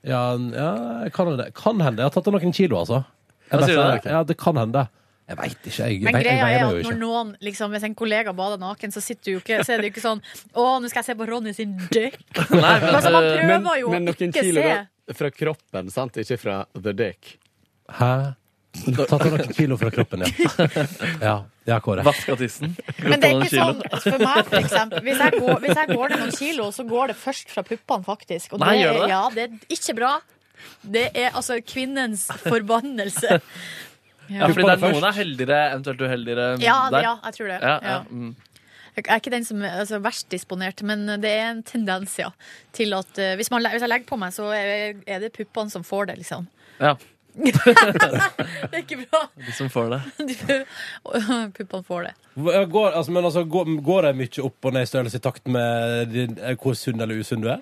S2: Ja, ja kan, hende det. kan hende. Jeg har tatt av noen kilo, altså. Jeg
S21: Hva sier
S2: bare sa
S21: du da?
S2: det. Ja, det kan hende. Jeg veit ikke. Jeg,
S5: Men
S2: jeg, jeg
S5: greia er
S2: veier meg
S5: at
S2: jo
S5: når
S2: ikke.
S5: noen, liksom, hvis en kollega bader naken, så, sitter du jo ikke, så er det jo ikke sånn Å, nå skal jeg se på Ronny sin dick. altså, man
S3: eh,
S5: prøver
S21: men,
S5: jo
S21: men noen
S5: ikke
S21: kilo
S5: se.
S21: da, fra kroppen, sant? Ikke fra the dick.
S2: Hæ? Tatt av noen kilo fra kroppen, ja. Ja, ja Kåre.
S3: Vaska tissen.
S5: Men det er ikke sånn for meg, for eksempel. Hvis jeg, går, hvis jeg går ned noen kilo, så går det først fra puppene, faktisk. Og
S3: Nei,
S5: det,
S3: gjør det
S5: er-
S3: det?
S5: Ja, det er ikke bra. Det er altså kvinnens forbannelse.
S3: Ja, fordi det er noen er heldigere, eventuelt uheldigere
S5: Ja,
S3: der.
S5: ja, jeg tror det.
S3: Ja, ja.
S5: Ja.
S3: Mm.
S5: Jeg er ikke den som er altså, verst disponert, men det er en tendens, ja. Til at eh, hvis, man, le- hvis jeg legger på meg, så er er det puppene som får det, liksom.
S3: ja.
S5: Det er ikke bra.
S3: De som får det.
S5: De får- Puppene får det.
S2: Hva- Går, altså, men altså, går, går det mye opp og ned i størrelse i takt med din, eh, hvor sunn eller usunn du er?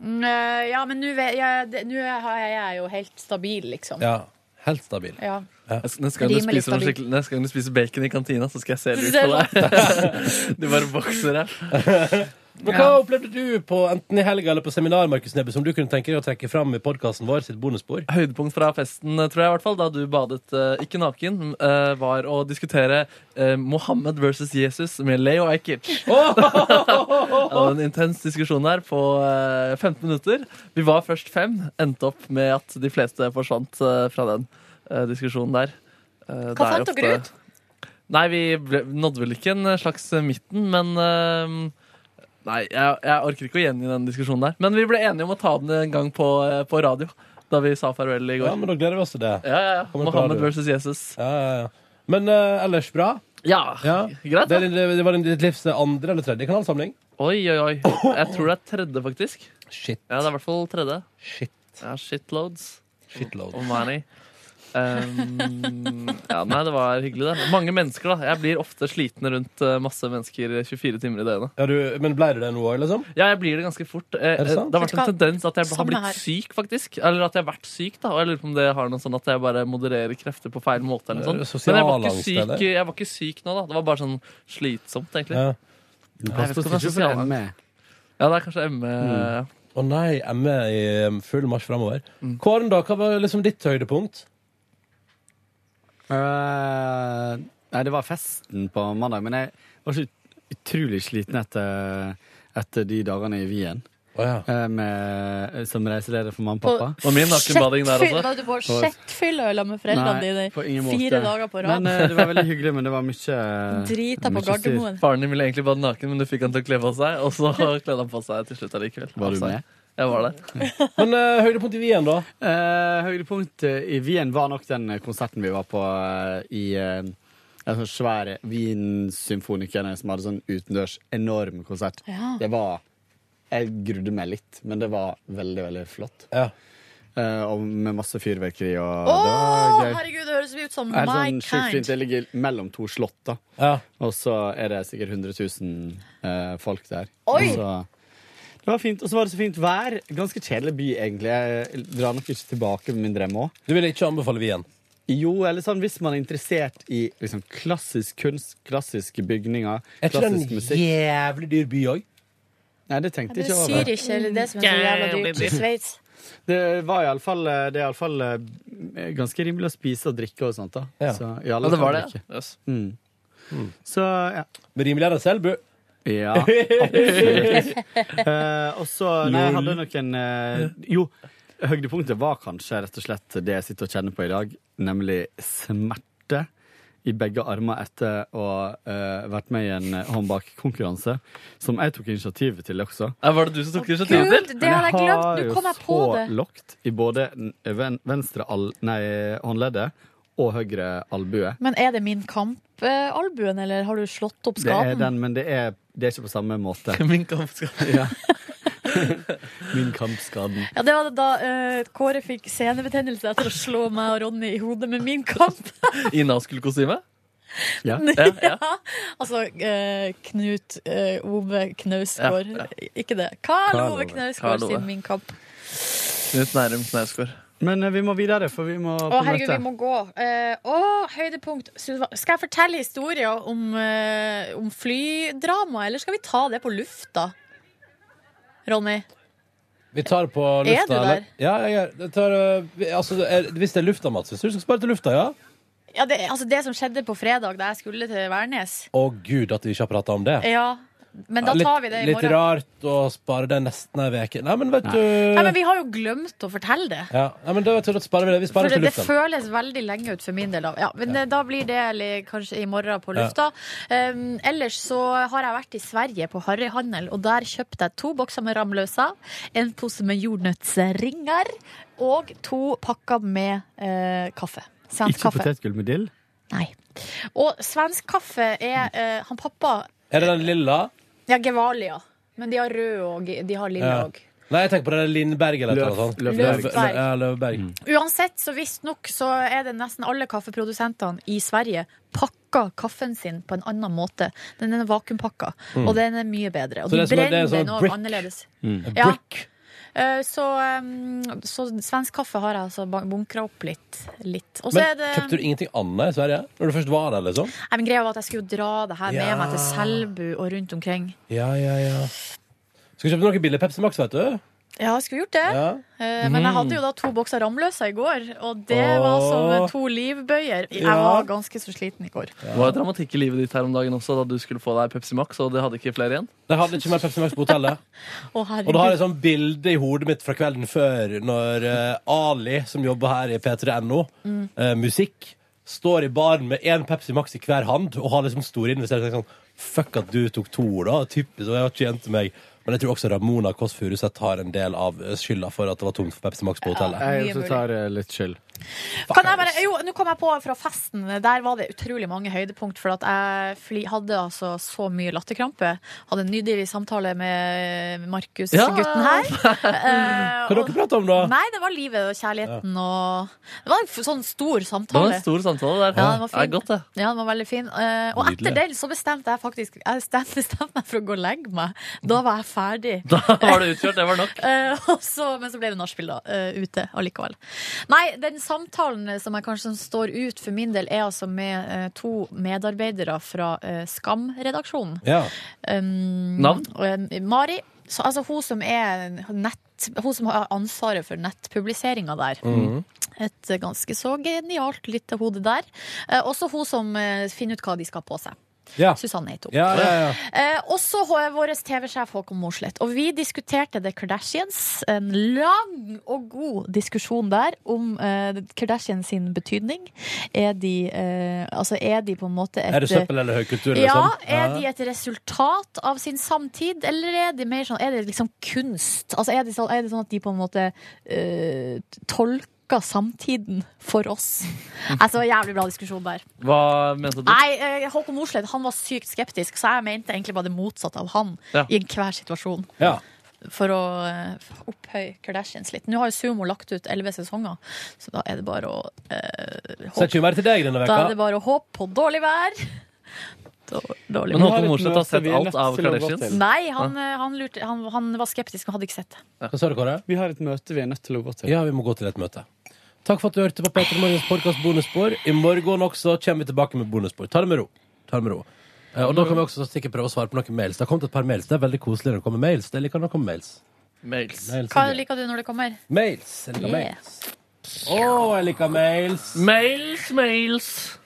S5: Mm, eh, Ja, men nå vet jeg- det- nå har jeg- jeg er jo helt stabil, liksom.
S2: Ja.
S24: Helt stabil.
S5: Ja.
S3: Neste neste gang, du
S5: Rimelig
S3: spiser noe
S5: stabil.
S3: skikkelig- neste gang du spiser bacon i kantina, så skal jeg se det ut
S5: Se
S3: på deg. Du bare vokser her.
S2: Men hva opplevde du på enten i helga eller på seminar, Markus Nebbe, som du kunne tenke deg å trekke fram i podkasten vår sitt bonusspor?
S3: Høydepunkt fra festen, eh, tror jeg, i hvert fall, da du badet eh, ikke naken, eh, var å diskutere eh, Mohammed versus Jesus med Leo Ajkic. Det var en intens diskusjon her på eh, 15 minutter. Vi var først fem, endte opp med at de fleste forsvant eh, fra den eh, diskusjonen der. Eh, det er
S5: fant
S3: ofte-
S5: dere ut?
S3: Nei, vi ble, nådde vel ikke en slags midten, men eh, Nei, jeg, jeg orker ikke å gjengi den diskusjonen der. Men vi ble enige om å ta den en gang på, eh, på radio. Da vi sa farvel i går.
S2: Ja, men da gleder vi oss til det.
S3: Ja, ja, ja.
S2: Kommer på
S3: Mohammed
S2: radio.
S3: versus Jesus.
S2: Ja, ja, ja. Men eh, ellers bra?
S3: Ja, greit.
S2: Det, er din- det var din- ditt livs andre eller tredje kanalsamling?
S3: Oi, oi, oi. Jeg tror det er tredje, faktisk.
S2: Shit.
S3: Ja, det er i hvert fall tredje.
S2: Shit.
S3: Ja, shitloads.
S2: Shitloads.
S3: Og money. Um, ja, nei, det var hyggelig, det. Mange mennesker, da. Jeg blir ofte sliten rundt eh, masse mennesker 24 timer i døgnet.
S2: Ja, du, men blei du det nå òg, liksom?
S3: Ja, jeg blir det ganske fort. Eh,
S2: Er det
S3: eh,
S2: sant?
S3: det har vært en
S2: Vet du hva?
S3: tendens at jeg har
S2: Samme her.
S3: blitt syk, faktisk. Eller at jeg har vært syk, da. Og jeg lurer på om det har noe sånn at jeg bare modererer krefter på feil måte. Eller
S2: Det
S3: noe
S2: er
S3: sånt.
S2: sosial
S3: Men jeg var, ikke
S2: angst,
S3: syk,
S2: eller?
S3: jeg var ikke syk nå, da. Det var bare sånn slitsomt, egentlig.
S2: Ja.
S3: Nei, jeg vet ikke om det er sosial angst. Ja, det er kanskje E. ME. ja.
S2: Å nei, ME i um, full marsj framover. Kåren, da, hva var liksom ditt høydepunkt?
S21: Eh, nei, det var festen på mandag, men jeg var så ut- utrolig sliten etter, etter de dagene i Wien. Eh, med, som reiseleder for mamma og pappa.
S5: På sjettfyll- Var du på sjettfylla eller med foreldrene
S21: Nei,
S5: dine
S21: på ingen måte.
S5: fire dager på rad?
S21: Men eh, det var veldig hyggelig, men det var mye
S5: Drita på
S21: mye styr.
S5: Gardermoen.
S3: Faren din ville egentlig bade naken, men du fikk han til å kle på seg, og så kledde han på seg til slutt allikevel.
S21: Var du
S3: Altså,
S21: med?
S3: Jeg var der.
S2: Men eh, høydepunkt i Wien, da?
S21: Eh, høydepunkt eh, i Wien var nok den eh, konserten vi var på eh, i eh, en sånn svær Wien-symfonikerne som hadde sånn utendørs enorm konsert.
S5: Ja.
S21: Det var Jeg grudde meg litt, men det var veldig, veldig flott. Eh, og med masse fyrverkeri og
S5: Å,
S21: det var gøy.
S5: herregud, det høres ut som
S21: Det er
S5: my
S21: sånn sjukt fint.
S5: kind.
S21: Det ligger mellom to slott, da. Og så er det sikkert 100 000 eh, folk der.
S5: Oi!
S21: Og så- det var fint, Og så var det så fint vær. Ganske kjedelig by, egentlig. Jeg drar nok ikke tilbake med mindre jeg må.
S2: Du vil ikke anbefale Wien?
S21: Jo, eller sånn hvis man er interessert i liksom, klassisk kunst, klassiske bygninger,
S2: Er ikke det
S21: klassisk
S2: en
S21: musikk.
S2: jævlig dyr by òg?
S21: Nei, det tenkte
S5: Det
S21: jeg ikke over.
S5: sier ikke eller det som er så jævla dyrt i Sveits.
S21: Det var iallfall eh, Det er iallfall eh, ganske rimelig å spise og drikke og sånt, da.
S2: Ja.
S21: Så,
S2: Ja,
S21: alle
S2: det
S21: kan
S2: var det,
S21: drikke.
S2: ja. Yes.
S21: Mm. Så, ja.
S2: Men rimeligere enn Selbu.
S21: Ja, absolutt. Eh, og så Nei, jeg
S2: Lol.
S21: hadde noen eh, Jo, høydepunktet var kanskje rett og slett det jeg sitter og kjenner på i dag, nemlig smerte i begge armer etter å ha vært med i en håndbakkonkurranse, som jeg tok initiativet til også.
S3: Eh, Var det du som tok initiativet til?
S5: det hadde jeg glemt. Nå kom jeg på
S21: jo så
S5: det.
S21: lågt i både n- ven- venstre al nei, håndleddet og høyre albue.
S5: Men er det min kampalbuen, eller har du slått opp
S21: Det er
S5: skaden?
S21: den, men det er, det er ikke på samme måte.
S3: Min kampskade.
S21: Ja. Min kampskaden.
S5: Ja, Det var det da eh, Kåre fikk senebetennelse etter å slå meg og Ronny i hodet med min kamp.
S3: I Nazgul-kostyme?
S21: Ja.
S3: ja, ja.
S5: Altså eh, Knut eh, Ove Knausgård.
S3: Ja,
S5: Ikke det. Karl
S21: Karl
S5: Ove
S21: Ove.
S5: Knausgård
S21: Karl Ove.
S5: sin Min kamp.
S3: Knut Nærum Knausgård.
S21: Men eh, vi må videre, for vi må
S5: Å, herregud, vi må gå. Eh, Å, høydepunkt. Sylva- Skal jeg fortelle historier om, eh, om flydrama, eller skal vi ta det på lufta? Ronny?
S2: Vi tar på
S5: Er
S2: lufta.
S5: du der?
S2: eller? Ja, jeg er. Det tar, øh, vi- altså, det er, hvis det er lufta, Mats, hvis du skal spare til lufta, ja?
S5: Ja, det, altså det som skjedde på fredag da jeg skulle til Værnes.
S2: Å gud, at vi ikke har prata om det.
S5: Ja, men Eh, da
S2: Ja, litt,
S5: tar vi det i
S2: Litt
S5: morgen.
S2: rart å spare det nesten ei uke. Nei, men vet du
S5: Nei, men Vi har jo glemt å fortelle det.
S2: ja, nei, men da vet du, da sparer vi det. Vi
S5: For
S2: sparer
S5: det,
S2: til
S5: det
S2: luften.
S5: føles veldig lenge ut for min del. da. Ja, men eh, da blir det eller kanskje i morgen på
S2: Ja.
S5: lufta. Um, ellers så har jeg vært i Sverige på harryhandel, og der kjøpte jeg to bokser med Ramløsa, en pose med jordnøttsringer og to pakker med eh, kaffe. Svensk
S21: Ikke
S5: kaffe.
S21: potetgull med dill?
S5: Nei. Og svensk kaffe er eh, Han pappa
S2: Er det den lilla?
S5: Ja, Gevalia. Men de har rød og ge- de har lilla
S2: Ja.
S5: òg.
S2: Nei, jeg tenker på det der Lindberg eller noe
S21: Løf-
S2: sånt.
S5: Løfberg.
S2: Løf- Lø- ja, Løfberg.
S5: Uansett, så visstnok så er det nesten alle kaffeprodusentene i Sverige pakker kaffen sin på en annen måte. Den er vakuumpakka,
S2: Mm.
S5: og den er mye bedre.
S2: Så
S5: Og de
S2: det er som- det er
S5: brenner
S2: som
S5: den
S2: en
S5: òg
S2: brick.
S5: annerledes.
S2: Mm. En
S5: Ja. Eh, Så, eh, så svensk kaffe har jeg altså bunkra opp litt. litt. Og så er
S2: Men
S5: det
S2: kjøpte du ingenting annet i Sverige når du først var der, liksom?
S5: Nei, men greia var at jeg skulle jo dra det her
S2: Ja.
S5: med meg til Selbu og rundt omkring.
S2: Ja, ja, ja. Skal kjøpe noe billig Pepsi Max, vet du.
S5: Ja, jeg skulle gjort det.
S2: Ja. Mm.
S5: Eh, Men jeg hadde jo da to bokser ramløsa i går, og det var som
S3: Åh.
S5: to livbøyer. Jeg
S3: Ja.
S5: var ganske så sliten i går.
S3: Det var dramatikk i livet ditt her om dagen også, da du skulle få deg Pepsi Max, og det hadde ikke flere igjen.
S2: De hadde ikke mer Pepsi Max på hotellet.
S5: Å,
S2: Og da har jeg
S5: herregud.
S2: et sånt bilde i hodet mitt fra kvelden før, når eh, Ali, som jobber her i P3NO,
S5: Mm.
S2: eh, musikk, står i baren med én Pepsi Max i hver hand og har liksom store investeringer. Sånn, Fuck at du tok to, da. Typisk. Og jeg har ikke igjen til meg. Men jeg tror også Ramona Kåss Furuseth har en del av skylda for at det var tomt for Pepsi Max på hotellet.
S5: Ja, Jeg mye også mulig. tar,
S7: litt skyld.
S5: Kan jeg bare, jo, nå kom jeg på fra festen. Der var det utrolig mange høydepunkt. For at jeg fli, hadde altså så mye latterkrampe. Hadde en nydelig samtale med Markus-gutten her.
S2: Hva dere prater om, da?
S5: Nei, det var livet og kjærligheten og Det var en f- sånn stor
S3: Det var
S5: samtale.
S3: en stor samtale der.
S5: Ja, den var
S3: Det er
S5: fin.
S3: godt, det.
S5: Ja, den var veldig fin. Eh, og
S3: Nydelig.
S5: etter den så bestemte jeg faktisk Jeg stem- bestemte meg for å gå og legge meg. Da var jeg ferdig.
S3: Da var det utkjørt. Det var nok.
S5: Eh, og så, men så ble det nachspiel da, eh, ute allikevel. Nei, den samtalen som jeg kanskje står ut for min del, er altså med eh, to medarbeidere fra eh, Skam-redaksjonen.
S2: Ja.
S5: Um,
S2: Navn?
S5: og, eh, Mari. Så, altså hun som er nett Hun som har ansvaret for nettpubliseringa der.
S25: Mhm.
S5: Et eh, ganske så genialt lite hode der. Eh, også hun som eh, finner ut hva de skal ha på seg.
S2: Ja.
S5: Susanne heter hun.
S2: Ja, ja, ja.
S5: Eh, også har vår TV-sjef Håkon Mosleth. Og vi diskuterte The Kardashians. En lang og god diskusjon der om eh, Kardashians sin betydning. Er de, eh, altså er de på en måte et
S2: Er det søppel eller høykultur,
S5: Ja,
S2: liksom?
S5: er
S2: Ja.
S5: de et resultat av sin samtid, eller er det mer sånn Er det liksom kunst? Altså er det sånn, er det sånn at de på en måte eh, tolker samtiden for oss? Altså, jævlig bra diskusjon der.
S3: Hva mente du?
S5: Nei, eh, Håkon Mosleth han var sykt skeptisk, så jeg mente egentlig bare det motsatte av han
S3: Ja.
S5: i enhver situasjon.
S2: Ja.
S5: For å eh, opphøye Kardashians litt. Nå har jo Sumo lagt ut elleve sesonger, så da er det bare å eh,
S2: Så det er ikke mer til deg denne
S5: Da er
S2: veka.
S5: det bare å håpe på dårlig vær. Dårlig
S3: Men
S5: vær.
S3: Håkon Mosleth har sett
S7: Vi er nødt
S3: alt av
S7: til å gå
S3: Kardashians.
S7: til.
S5: Nei, han, eh, han, lurte, han, han var skeptisk og hadde ikke sett det.
S2: Hva sa du, Kåre?
S7: Vi har et møte vi er nødt til å gå til.
S2: Ja, vi må gå til et møte. Takk for at du hørte på Petter Morgens podcast bonusspor. I morgen også kommer vi tilbake med bonusspor. Ta det med ro. Ta det med ro. Eh, Og da kan vi også sikkert prøve å svare på noen mails. Det har kommet et par mails. Det er veldig koselig når det kommer mails. Det liker når det kommer mails.
S3: Mails.
S5: Hva liker du når det kommer?
S2: Mails. Jeg liker
S5: Yeah.
S2: mails. Å, jeg liker mails.
S3: Mails, mails.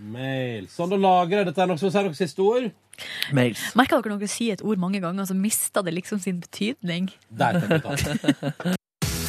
S2: Mails. Sånn, da lagrer jeg dette. Er noe som sier noen siste ord?
S3: Mails.
S5: Merka dere noen si et ord mange ganger, så mista det liksom sin betydning?
S2: Der tar vi tak.